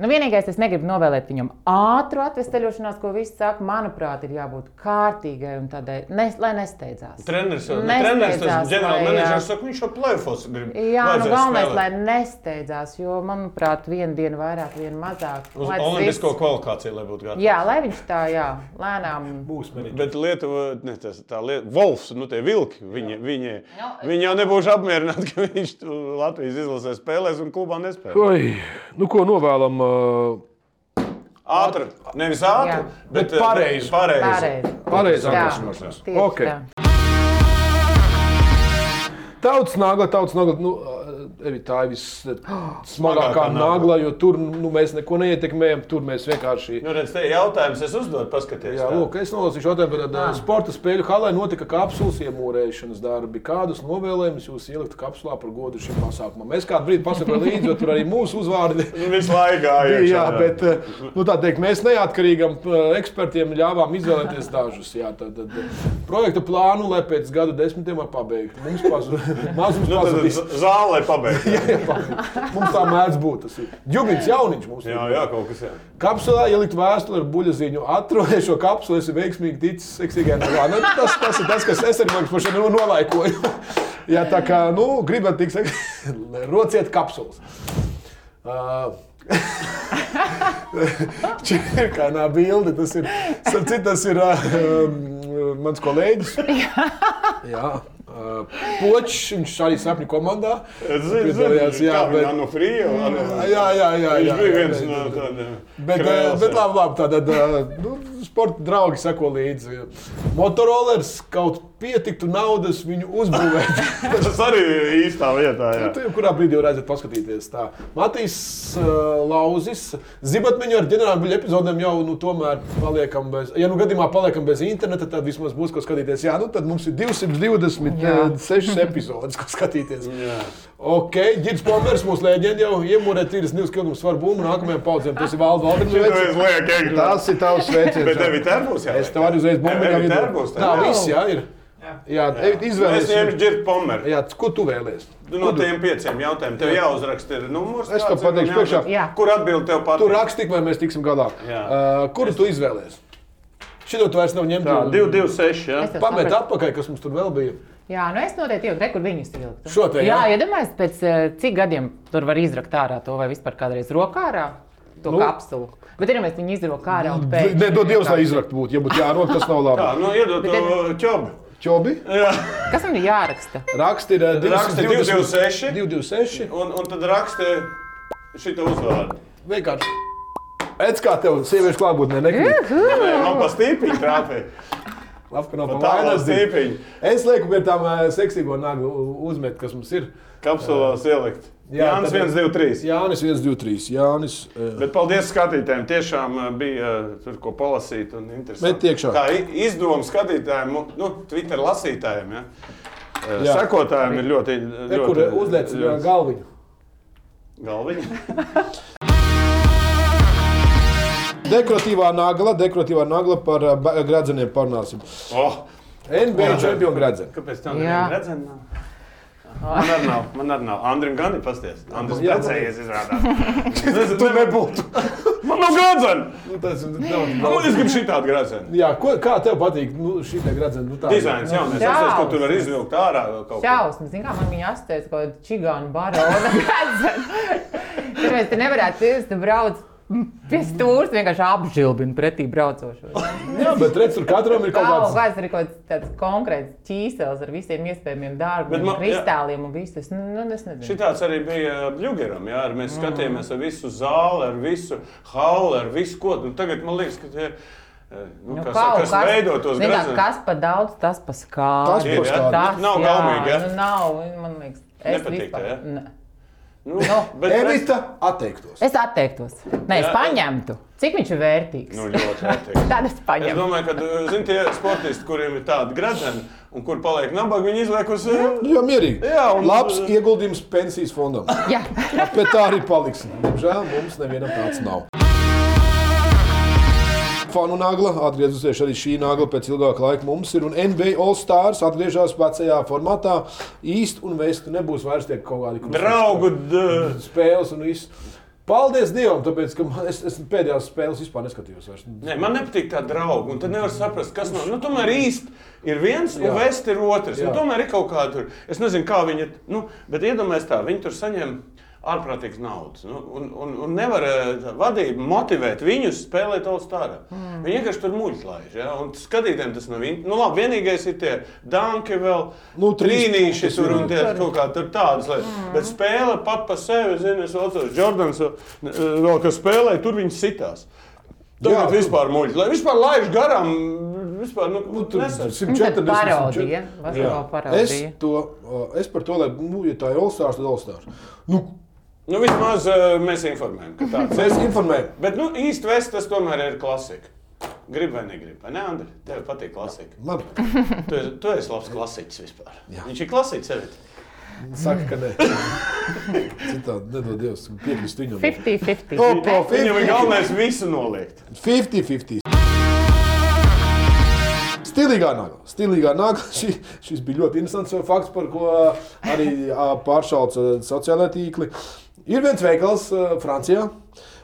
Nu, vienīgais, es negribu novēlēt viņam ātrā atvesaļošanās, ko viss saka. Manuprāt, ir jābūt kārtīgai un tādai, ne, lai nesteidzās. Treneris jau Nesteidzās, treneris, tas lai, jā. ģenerālmenedžers saka, viņš jau plēfos grib. Jā, nu, vajadzēs galvenais, spēlēt. lai nesteidzās, jo, manuprāt, viena diena vairāk, viena mazāk. Uz Lai tas olimpisko viss- kvalifikāciju, lai būtu gatavi. Jā, lai viņš tā, jā, lēnām. Bet Lietuva, ne, tas, tā Lietuva, Volfs, nu tie vilki, viņi, viņi, viņi jau nebūs apmierināti, ka viņš tu Latvijas izlasē spēlēs un klubā nespēlēs. Oi, nu, ko novēlam? Uh, Ātri, nevis ātri, Jā. bet, eh, Bet pareizi. pareizi. Pareizi. Pareizi Jā, atvesaļošanās. tieši Ok. tā. Tauts nagla, tauts nagla. Nu, eh, Evi, tā ir Smagākā vissmagākā nagla, nagla, jo tur nu, mēs neko neietekmējam. Tur mēs vienkārši. Nu, redz, te jautājums es uzdodu, paskaties. Jā, tā. lūk, es nolasīšu jautājumu par Ah. tādu sporta spēļu. Halē notika kapsulas iemūrēšanas darbi. Kādus novēlējumus jūs ieliktu kapsulā par godu šim pasākumam? Mēs kādu brīdi pasakām līdzi, jo tur arī mūsu uzvārdi. Nu, Visu laiku bija, gāja. Jā, bet eh, nu, tā teikt, mēs neatkarīgam eh, ekspertiem ļāvām izvēlēties dažus. Jā, tad, tad, eh, projekta plānu, lai pēc gada desmitiem var pabeigt. Mums pazudīs. Mazums Nu, tad pazudīs. z- zālē pabeigts. jā, Mums tā mēdz būt. tas ir. Džubins jauniņš mums ir. jā, kaut kas jā. Kapsulā ielikt vēstuli ar buļbuļsāņu. Atrodēju šo kapsulu, esmu veiksmīgi ticis seksīgā nagā. Nu, tas, tas ir tas, kas es arī man pašai nu- nolaikoju. Jā, tā kā, nu, gribat tik seksīgi, rociet kapsulas. Uh, Čirkānā bilde, tas ir, starp citu, tas ir uh, um, mans kolēģis. Jā, Uh, Počs, viņš arī sapņu komandā. Es zinu, Piedalījās, zinu, jā, kā bet- Mm, viņa no Frija. Jā, jā, jā. jā, Viņš bija jā, viens jā, no jā. tādiem. Bet, eh, bet labi, labi tātad eh, nu, sporta draugi seko līdzi. Motorolers kaut pietiktu naudas viņu uzbūvēt. Tas arī ir īstā vietā. Jā. Tur jau kurā brīdī jau redzat, paskatīties. Tā. Matīs uh, Lauzis, zibatmeņu ar ģenerālu buļbuļu epizodēm jau nu, tomēr paliekam bez, ja nu gadījumā paliekam bez interneta, tad vismaz būs ko skatīties. Jā, nu tad mums ir 226 epizodes, ko skatīties. Jā. Ok, Gigs Pomers, mūsu leģenda jau iemūrē tīras 2 kg svaru būmu nākamajām paudzēm. Tas ir Valda Valdemārs. Tas liekas, ka tas Tas ir tavs veiciens. Bet tev ir tērpus, jā. Es tev arī uzreiz bumbu Tev ir vidū. tērpus, tev Tā ir. viss, jā, ir. Jā, jā. Es ņemšu izvēlēties. džirku pomeru. Jā, ko tu vēlējies? No tiem pieciem jautājumiem tev jāuzraksta ir numurs. Es tev kāds ir, un pateikšu priekšā. jāatbild. Jā. Kur atbild tev patīk? Tu raksti, vai mēs tiksim galā. Jā. Uh, kuru tu izvēlējies? Šito tu vairs nav ņemt. Tā, jo- 2, 2, 6. Jā. Es tev Pamet sapratu. atpakaļ, kas mums tur vēl bija. Jā, nu es noteikti jau rekur viņus vilku. Šo te, jā? jā. Jā, iedomājieties, pēc eh, cik gadiem tur var izrakt ārā to vai vispār kādreiz rokā ārā to Nu. nu. kapsulu. Bet ir, mēs viņu izrokā ārā un pēc. Nē, dod Dievs, lai izrakt būtu. Ja būtu jārok, tas nav labi. Tā, nu iedod Bet to ķobu. Čobi? Kas man ir jāraksta? Raksti uh, ir Raksti 226. 226. Un, un tad raksta šito uzvārdu. Vienkārši. Edz kā tev sieviešu klātbūtnē nekrīt. Nu, Nē, Man pa stīpiņu trāpīja. Labi, ka Nu, nav Pa pa tālā vainas bija. stīpiņu. Es lieku pie tām eh, seksīgo nagu uzmet, kas mums ir. Kapsulās ielikt. Jā, Jā, Jānis tad- 1, 2, 3. Jānis 123. Jānis. eh, Bet paldies skatītājiem. Tiešām eh, bija eh, tur ko palasīt un Met interesanti. iekšā. Tā i- izdevuma skatītājiem, un, nu, Twitter lasītājiem, ja? Eh, Jā. sekotājiem ir ļoti. Te, kur eh, uzliec eh, galviņu. galviņu? Dekoratīvā nagla, dekoratīvā nagla par eh, ba- gredzeniem parunāsim. Oh, NBA čempionu gredzenu. kāpēc tam Jā. redzam? Man arī nav, man arī nav. Andrim gan ir pasties. Andris Jā, precējies izrādās. Tu nebūtu. Man nav gradzena. Nu, tas ir daudz. Man es gribu šitādu gradzenu. Jā, ko, kā tev patīk nu, šī te gredzena? Nu, tā. Dizains jaunais. Es saprotu, ka tu vari izvilkt ārā vēl kaut ko. Šausmas, zināmā mērā, man viņa asociēts kaut kāda čigāna barona redzama. Tur mēs te nevarētu pierast, braukt pie stūres, vienkārši apžilbina pretī braucošo. Jā, bet redz, tur katram ir kaut Kaut kāds. kāds ir kaut kāds tāds konkrēts ķīsels ar visiem iespējamiem Bet darbiem, man- man, kristāliem un visu. Es, nu, es nezinu. Šitāds arī bija Bluegeram. Jā, ar mēs skatījāmies ar visu zāli, ar visu hauli, ar visu ko. Nu, tagad man liekas, ka tie ir. Nu, nu, Nu, kas, kaut kas veido tos zini kā, gradzenus? Kas par daudz, tas par Tas skābi. par Jā, skābi. nu, nav gaumīgi, ja? jā. Nu, nav, man liekas. Es Nepatīk vispār- tev, ja? ne. Nu, bet Evita atteiktos. Es atteiktos. Nē, es Jā, paņemtu. Cik viņš ir vērtīgs? Nu, ļoti ērti. Tad es Es paņemtu. domāju, ka zin, tie sportisti, kuriem ir tāda gradzena un kur paliek nabaga, viņi izliek uz. eh, Jā, mierīgi. Jā, un- Labs ieguldījums pensijas fondam. Jā. Bet tā arī paliks. Nu, Diemžēl mums nevienam tāds nav. Fanu nagla atgriezusies arī šī nagla pēc ilgāka laika mums ir. Un NBA All Stars atgriežas vecajā formātā. Īsti un vēsti nebūs vairs tie kaut kādi krustu Draugu d- spēles un viss. Paldies Dievam, tāpēc, ka man, es, es pēdējās spēles vispār neskatījos. Vairs. Nē, man nepatīk tā drauga. Un tad nevar saprast, kas no nu, tomēr īsti ir viens, un vēsts ir otrs. Un Jā. tomēr ir kaut kāda tur. Es nezinu, kā viņi. Nu, bet iedomājieties, tā viņi tur saņem ārprātīgas naudas. Nu, un, un, un nevar eh, tā vadība motivēt viņus spēlēt All Star. Mm. Viņi vienkārši tur muļķi laiž. Ja? Un skatītājiem tas nav. in- Nu, labi, vienīgais ir tie danki vēl. Nu, trīs trīnīši punktus tur ir. un tie kaut kā tur tādas lietas. Mm. Bet spēle pat pa sevi, zinu, es atceros, Jordans eh, vēl, kas spēlēja, tur viņi sitās. Jā, Tagad tu- vispār muļķi. Lai vispār laiž garām, vispār nu, nu, Tur nesas. 140, Parodija. 140. Basketbola Es, parodija. to, uh, es par to, lai, nu, ja tā ir All Stars, tad All Stars. Nu, Nu, vismaz uh, mēs informējam, ka tāds ir. mēs informējam. Bet nu, īstenībā tas tomēr ir klasika. Gribu vai negribu. vai Nē, Andri, tev patīk klasika. Man Tu, esi- tu esi labs klasiķis vispār. Jā. Viņš ir klasīts sevi. saka, ka nē. Citādi nedod Dievs piekrist viņam. 50-50. Oh. Opa, Viņam 50. ir galvenais visu noliegt. 50-50. Stilīgā nagla. Stilīgā nagla. Šis, šis bija ļoti interesants fakts, par ko arī ā, pāršauca sociālajā tīklī. Ir viens veikals ā, Francijā.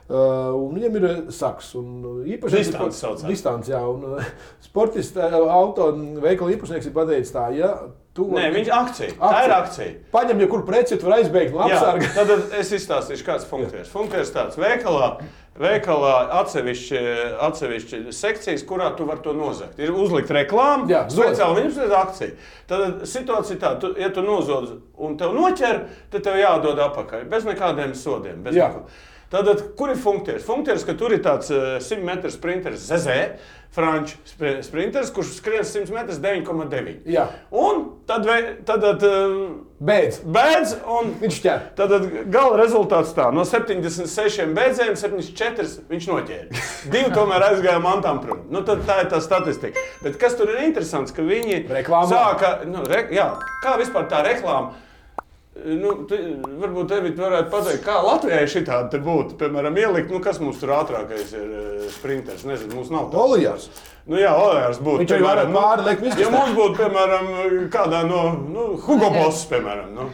Uh, un viņam ir ā, saks, un ā, īpašnieks Distance saucās. distance, jā, un ā, sportista ā, auto un veikala īpašnieks ir pateicis tā, ja Tu Nē, viņš akcija. akcija. Tā ir akcija. Paņem, ja kur preci, tur aizbēgt no Jā, apsarga. tad es izstāstīšu, kāds ir funkcijas. Funkcijas tāds veikalā, veikalā atsevišķi, atsevišķi sekcijas, kurā tu vari to nozagt. Ir uzlikt reklāmu, Jā, zod. speciāli viņam ir akcija. Tad situācija ir tāda, tu, ja tu nozodz un tev noķer, tad tev jādod apakaļ bez nekādiem sodiem. Bez Jā. neko. Tātad, kur ir funkcijas? Funkcijas, ka tur ir tāds eh, 100 metru sprinteris, ZZ, franču spri- sprinteris, kurš skrien 100 metrus 9,9. Jā. Un tad, vei- tad, tad ehm, Beidz. bēdz un Viņš ķer. Tad gala rezultāts tā, no 76 beidzējiem 74 viņš noķēra. Divi tomēr aizgāja mantām prom. Nu, tad tā ir tā statistika. Bet kas tur ir interesants, ka viņi Reklāmā. sāka, nu, re, jā, kā vispār tā reklāma. Nu, te, varbūt tevi varētu pateikt, kā Latvijai šī tāda būtu. Piemēram, ielikt, nu, kas mums tur ātrākais ir eh, sprinteris. Nezinu, mums nav tā. Olijārs. Nu, jā, Olērs būtu. Viņš jau piemēram, varētu nu, pāri likt visu. Ja mums būtu, piemēram, kādā no nu, Hugo Boss, piemēram. Nu.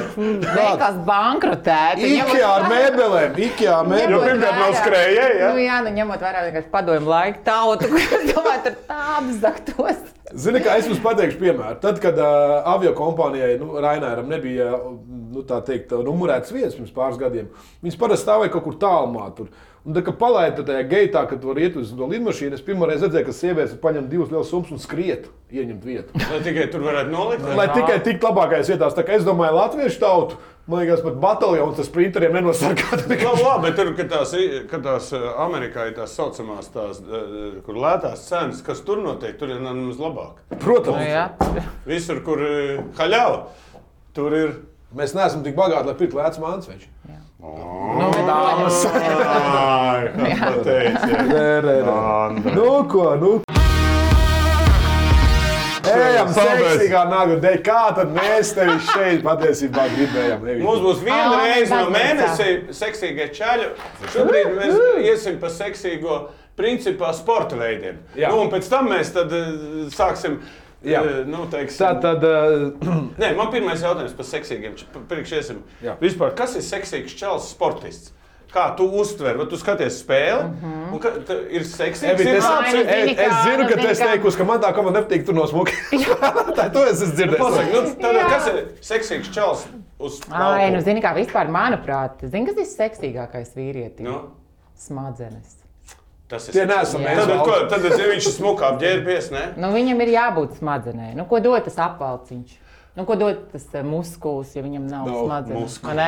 Veikals bankrotēta. ņemot Ikea ar vērā- mēbelēm. Ikea ar ņemot Jo mēbelēm. pirmkārt nav vērā- skrējēji, jā? Nu, jā, nu, ņemot vērā vienkārši padomu laiku tautu, kur domāju, tur tā apzaktos. Zini, kā es jums pateikšu, piemēram, tad, kad uh, avio kompānijai nu, Rainēram nebija nu, tā teikt, numurēts vietas pirms pāris gadiem, viņas parasti stāvēja kaut kur tālumā. Tur. Un, tā, kad palaida tajā gaitā, kad var iet uz to lidmašīnu, es pirmo reizi redzēju, ka sievietes paņem divas lielas summas un skriet, ieņemt vietu. Lai tikai tur varētu nolikt. Lai tikai tiktu labākajās vietās, tā kā es domāju, latviešu tautu, man liekas, pat bataljons ar sprinteriem nenosargātu. Labi, Nu, labi, bet tur, kad tās, i- kad tās eh, Amerikā ir tās saucamās, tās, eh, kur lētās cenas, kas tur notiek, tur ir nemaz labāk. Nu, Protams, jā. Visur, kur eh, haļava, tur ir. mēs neesam tik bagāti, lai pirktu lētas mākslas. Nu, bet dāmas. Ai, kā pateici. Nē, nē, nē. Andri. Nu, ko, nu? Ejam, Paldies. seksīgā nāga dēļ, kā tad mēs tevi šeit patiesībā gribējām. Nevis. Mums būs viena Ā, reize no tas tas mēnesī seksīgie čaļi. Šobrīd mēs iesim pa seksīgo principā sporta veidiem. Jā. Nu, un pēc tam mēs tad eh, sāksim. Jā. eh, Nu, teiksim, tā tad. Uh, Nē, man pirmais jautājums par seksīgiem priekšsēdiem. Jā. Vispār, kas ir seksīgs čels sportists? Kā tu uztver, vai tu skaties spēli? Mm -hmm. un, ka, t, ir seksīgs, Mhm. Evi, ir es, Ai, nu tāds es, - zini es kā, zinu, nu ka zini tu esi kā. teikusi, ka man tā komanda nepatīk, tur nosmuki. tā to es esmu dzirdējis. nu, tad, kas ir seksīgs čels uz Ai, nu, spēles? zini, kā vispār, manuprāt, zini, kas ir seksīgākais vīrietis? Nu. Smadzenes. Tas ir Tie seksīgs. neesam mēs, Tad, Valdi. ko, tad ja viņš ir smukā apģērbies. Ne? Nu, viņam ir jābūt smadzenē. Nu, ko dod tas apvalciņš? Nu, ko dod tas eh, muskulis, ja viņam nav no, smadzenes? vai ne?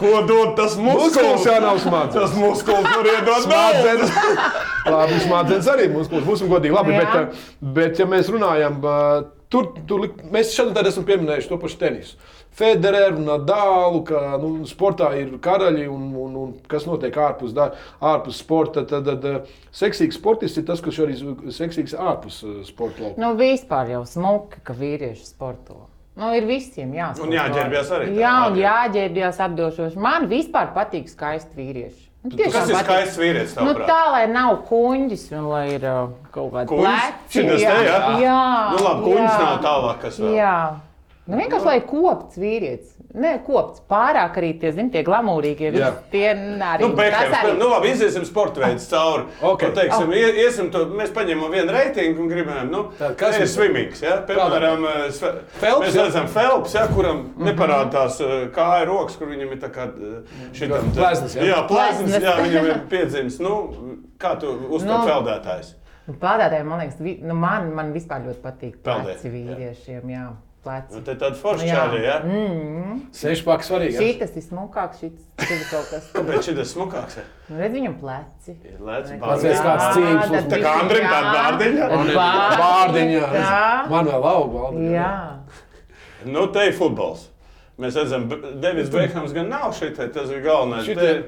Ko dod tas Muskulis jau muskulis? nav smadzenes. Tas muskulis var iedot naudu. Smadzenes. Labi, smadzenes arī mums būs, būsim godīgi. Labi, Jā. bet, eh, bet, ja mēs runājam, eh, tur, tur lik- mēs šodien tādā esam pieminējuši to pašu tenisu. Federeru, Nadālu, ka nu, sportā ir karaļi un, un, un kas notiek ārpus, da, ārpus sporta. Tad, tad eh, seksīgs sportists ir tas, kurš arī z- seksīgs ārpus eh, sporta laukuma. Nu, vispār jau smuki, ka vīrieši sporto. Nu, ir visiem jāspēlē. Un jāģērbjas arī tā, Jā, un ātri. jāģērbjas apdošoši. Man vispār patīk skaisti vīrieši. Nu, Kas ir skaists vīrietis? Nu, tavuprāt? tā lai nav kuģis, un lai ir uh, kaut kāda Kuņģis? pleci, Šitas jā. te, jā? jā. Nu, labi, kuņģis jā. nav tālāk, kas vēl. Jā. Nu, vienkārši, lai kopts vīrietis. Nē, kopts. Pārāk arī tie, zin, tie glamūrīgie. Jā. vis- Tie n- arī. Nu, Bekhams, tas arī- nu, labi, iziesim sporta veidu cauri. Ok. Un Teiksim, ie- iesim to, mēs paņemam vienu reitingu un gribējām, nu, Tad kas te ir mums- svimīgs. Ja? Piemēram, Phelps, Felps, mēs jā? redzam, Felps, ja, kuram Mhm. neparādās tās eh, kāja rokas, kur viņam ir tā kā eh, šitam. Pleznas, jā? Jā, plēznis, Pleznas. jā, viņam ir piedzimis. Nu, kā tu uztver Nu. no. peldētājs? Peldētājiem, man liekas, vi, nu, man, man vispār ļoti patīk Peldēt, pleci vīriešiem. Jā. Nu, Pleci. te tāda forša Nu, jā. čāļa, ja? Mm. Sešpaks svarīgs. Šis ir smukāks, šis ir kaut kas. Bet šitas smukāks. ja? Nu, redz viņam pleci. Ir lēts, Pazies, pārvies. kāds cīņas uz- Tā kā Andrim tāda bārdiņa. Vārdiņā. Man vēl auga. Jā. Nu, te ir futbols. Mēs redzam, ka Deivids Bekhams gan nav šeit, tas ir galvenais. Šitie- Te ir,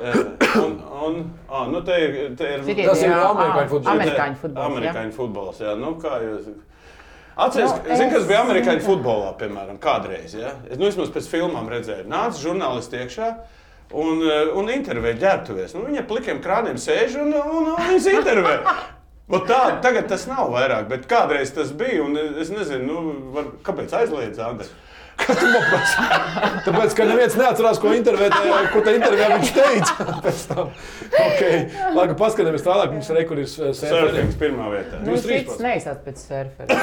eh, un, un, ah, nu, te ir, te ir Šitie Tas ir jā, amerikāņu ā, futbols. Amerikāņu futbols. jā. Amerikāņu futbols, jā. Nu, kā jūs... Atceries, Nu, no, zin, kas es- bija amerikāņu futbolā, piemēram, kādreiz. Ja? Es nu, vismaz pēc filmām redzēju, nāca žurnālisti iekšā. Un, eh, un intervēja ģērbtuvēs. Nu, viņa plikiem krāniem sēž un, un, un viņas intervēja. Un Tā, tagad tas nav vairāk, bet kādreiz tas bija. un Es nezinu, nu, var, kāpēc aizliedz Andri. Kas tu nopēc? Tāpēc, ka neviens neatcerās, ko intervijā, ko tā intervijā viņš teica. Pēc tam, okay. labi, paskatāmies tālāk, mums ir eh, rekords sērijas. Surfings pirmā vietā. Nu, Jūs trīs cits pats. neizsāc pēc surfera.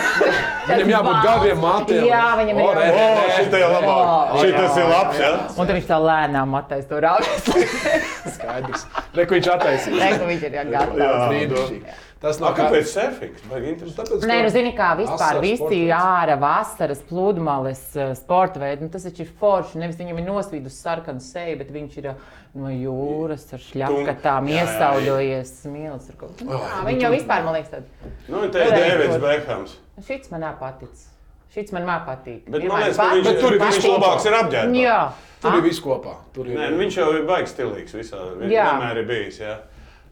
Viņam jābūt gādiem matiem. Jā, viņam ir O, re, O, re, re. šitie labāk. Jā, Šitas ir labs, jā? Un tad viņš tā lēnām attais to rāvis. Skaidrs. Reku viņš attaisīja. Reku viņš ir jau gatavs. Brīnišķīgi. Tas A, nav kā- kāpēc surfings? Baigi interesanti. Tāpēc, Nē, ka- nu, zini, kā vispār Vasaras visi sports. ārā vasaras pludmales eh, sporta veidi, nu, tas taču ir forši. Nevis viņam ir nosvīdus sarkanu seju, bet viņš ir eh, no jūras ar šļakatām Jā, jā, jā. iesauļojies smilts. ar kaut ko. Nu, jā, Viņi jau vispār, man liekas, tādi. Nu, un te ir Dēvids Bekhams. Šits man patic. Šits man mā patīk. Bet Ir man man liekas, ka viņš, Bet tur ir viņš viss labāks ir apģērbs. Jā. Tur ir viss kopā. Tur ir. Nē, nu, viņš jau ir baigs stilīgs visā. Viņš Jā. vienmēr ir bijis. Jā.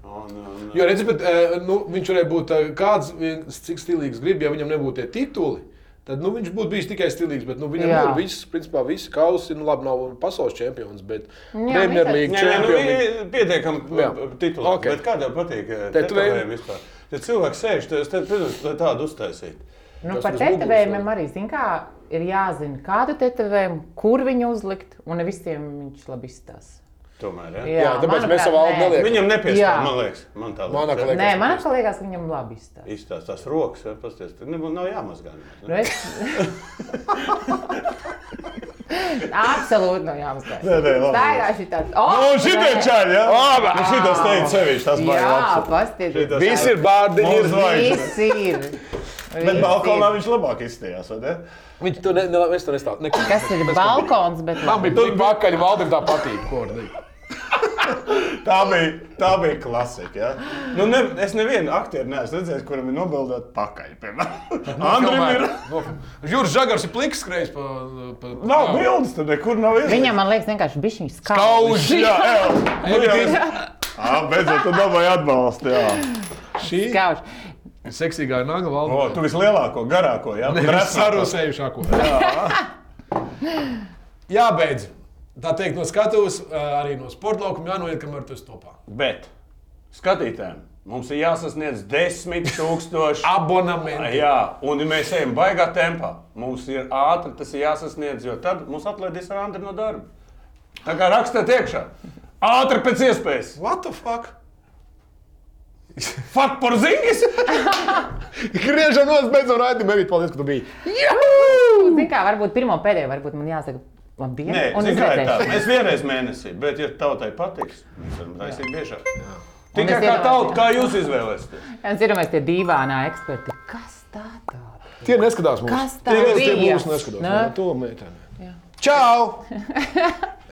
Un, un, Jo, redzi, bet, eh, nu, viņš varēja būt eh, kāds, viens, cik stilīgs grib, ja viņam nebūtu tie tituli. Tad nu, viņš būtu bijis tikai stilīgs. Bet, nu, viņam Jā. ir viss, principā, visi kausi. Nu, labi, nav pasaules čempions, bet viņš ir- Premjerlīgas Nē, nē, nu, čempions. ir pietiekami Jā. titulā. Ok. Okay. Kā tev patīk? eh, Tetovējumi? tetovējumi vispār? Ja cilvēks sēž, tad es tev, protams, lai tādu uztaisītu. Nu, Tas par uz tetovējumiem muguras, arī zin, kā, ir jāzina, kādu tetovējumu, kur viņu uzlikt, un ne visiem viņš labi izstāsta. Tomēr, ja? Jā, tāpēc mēs savu albu neliekam. Viņam Jā. nepiestāv, man liekas. Man tā Man tā liekas. ja? liekas. Nē, man liekas, ka viņam labi izstāsta. Izstāst tās rokas, vai pasties, tur nebū- nav jāmazgā. Nu, es... Absolūti nav jāmazgā. Nē, nē, labi. Tā ir šī tāda. Oh, Nu, čaļi, jā? Labi! Nu, šitas teica sevišķi, tas Jā, baigi. paskatieties. Šitas- Visi ir bārdi. Mums Ir. vajag. Viss ir. Bet Viss balkonā ir. viņš labāk izstījās, vai ne? Viņš to ne, ne, es to nestāstu. Neko. Kas ir balkons? Bet... Man bija tik pakaļ, valdim tā patīk. Ko, ar viņu. Tā bija, tā bija klasika. Ja? Nu, ne, es nevienu aktieru neesmu redzējis, kuram ir nobildīta pakaļ. Andrejam ir. Jūras Nu, žagars ir pliks skrejs pa, pa, pa Nav bildes, tur nekur nav izdevies. Viņam, man liekas, vienkārši bija šis skauts. Kauži! Jā, jā. Nu, jā. Ā, Beidzot, tu dabūji atbalstu. Jā. Šī seksīgā naga O, valda. tu vislielāko, garāko, jā, krāsainās. Sarūsējušāko. Jābeidz. Tā teikt, no skatuves, eh, arī no sporta laukuma jānoiet, kamēr tu esi topā. Bet skatītājiem mums ir jāsasniedz 10,000. Abonements. Jā, un mēs ejam baigā tempā. Mums ir ātri tas ir jāsasniedz, jo tad mums atlaidīs rāmti no darba. Tā kā rakstāt iekšā, ātri pēc iespējas. What the fuck? Fuck, par zīmes! Griežam, nos, beidzot, raidījumu. Beidzot, paldies, ka tu biji. Zini, kā varbūt pirmo pēdējo, varbūt man jāsaka, labi. Nē, zini, kā ir tā. Mēs vienreiz mēnesī, bet, ja tautai patiks, mēs varam taisīt biežāk. Tikai Un es kā iedomājos, tauta, jā. kā jūs izvēlēsieties? Mēs dzirdam, tie divānā eksperti. Kas tā tā? Tie neskatās mums. Kas tā Tie nes- tie bija? mūs neskatās. Nē. Nē, To meiteni. Čau!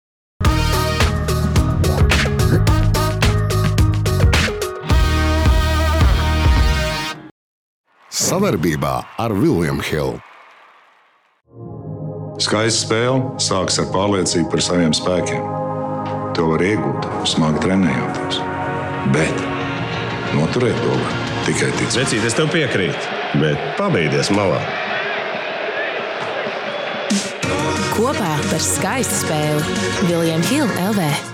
Savarbībā ar William Hill. Skaista spēle sākas ar pārliecību par saviem spēkiem. To var iegūt, smagi trenējoties. Bet noturēt to var tikai ticēt. Vecīt, es tev piekrītu, bet pabeigties malā. Kopā par skaistu spēli Viljams Hilde LV.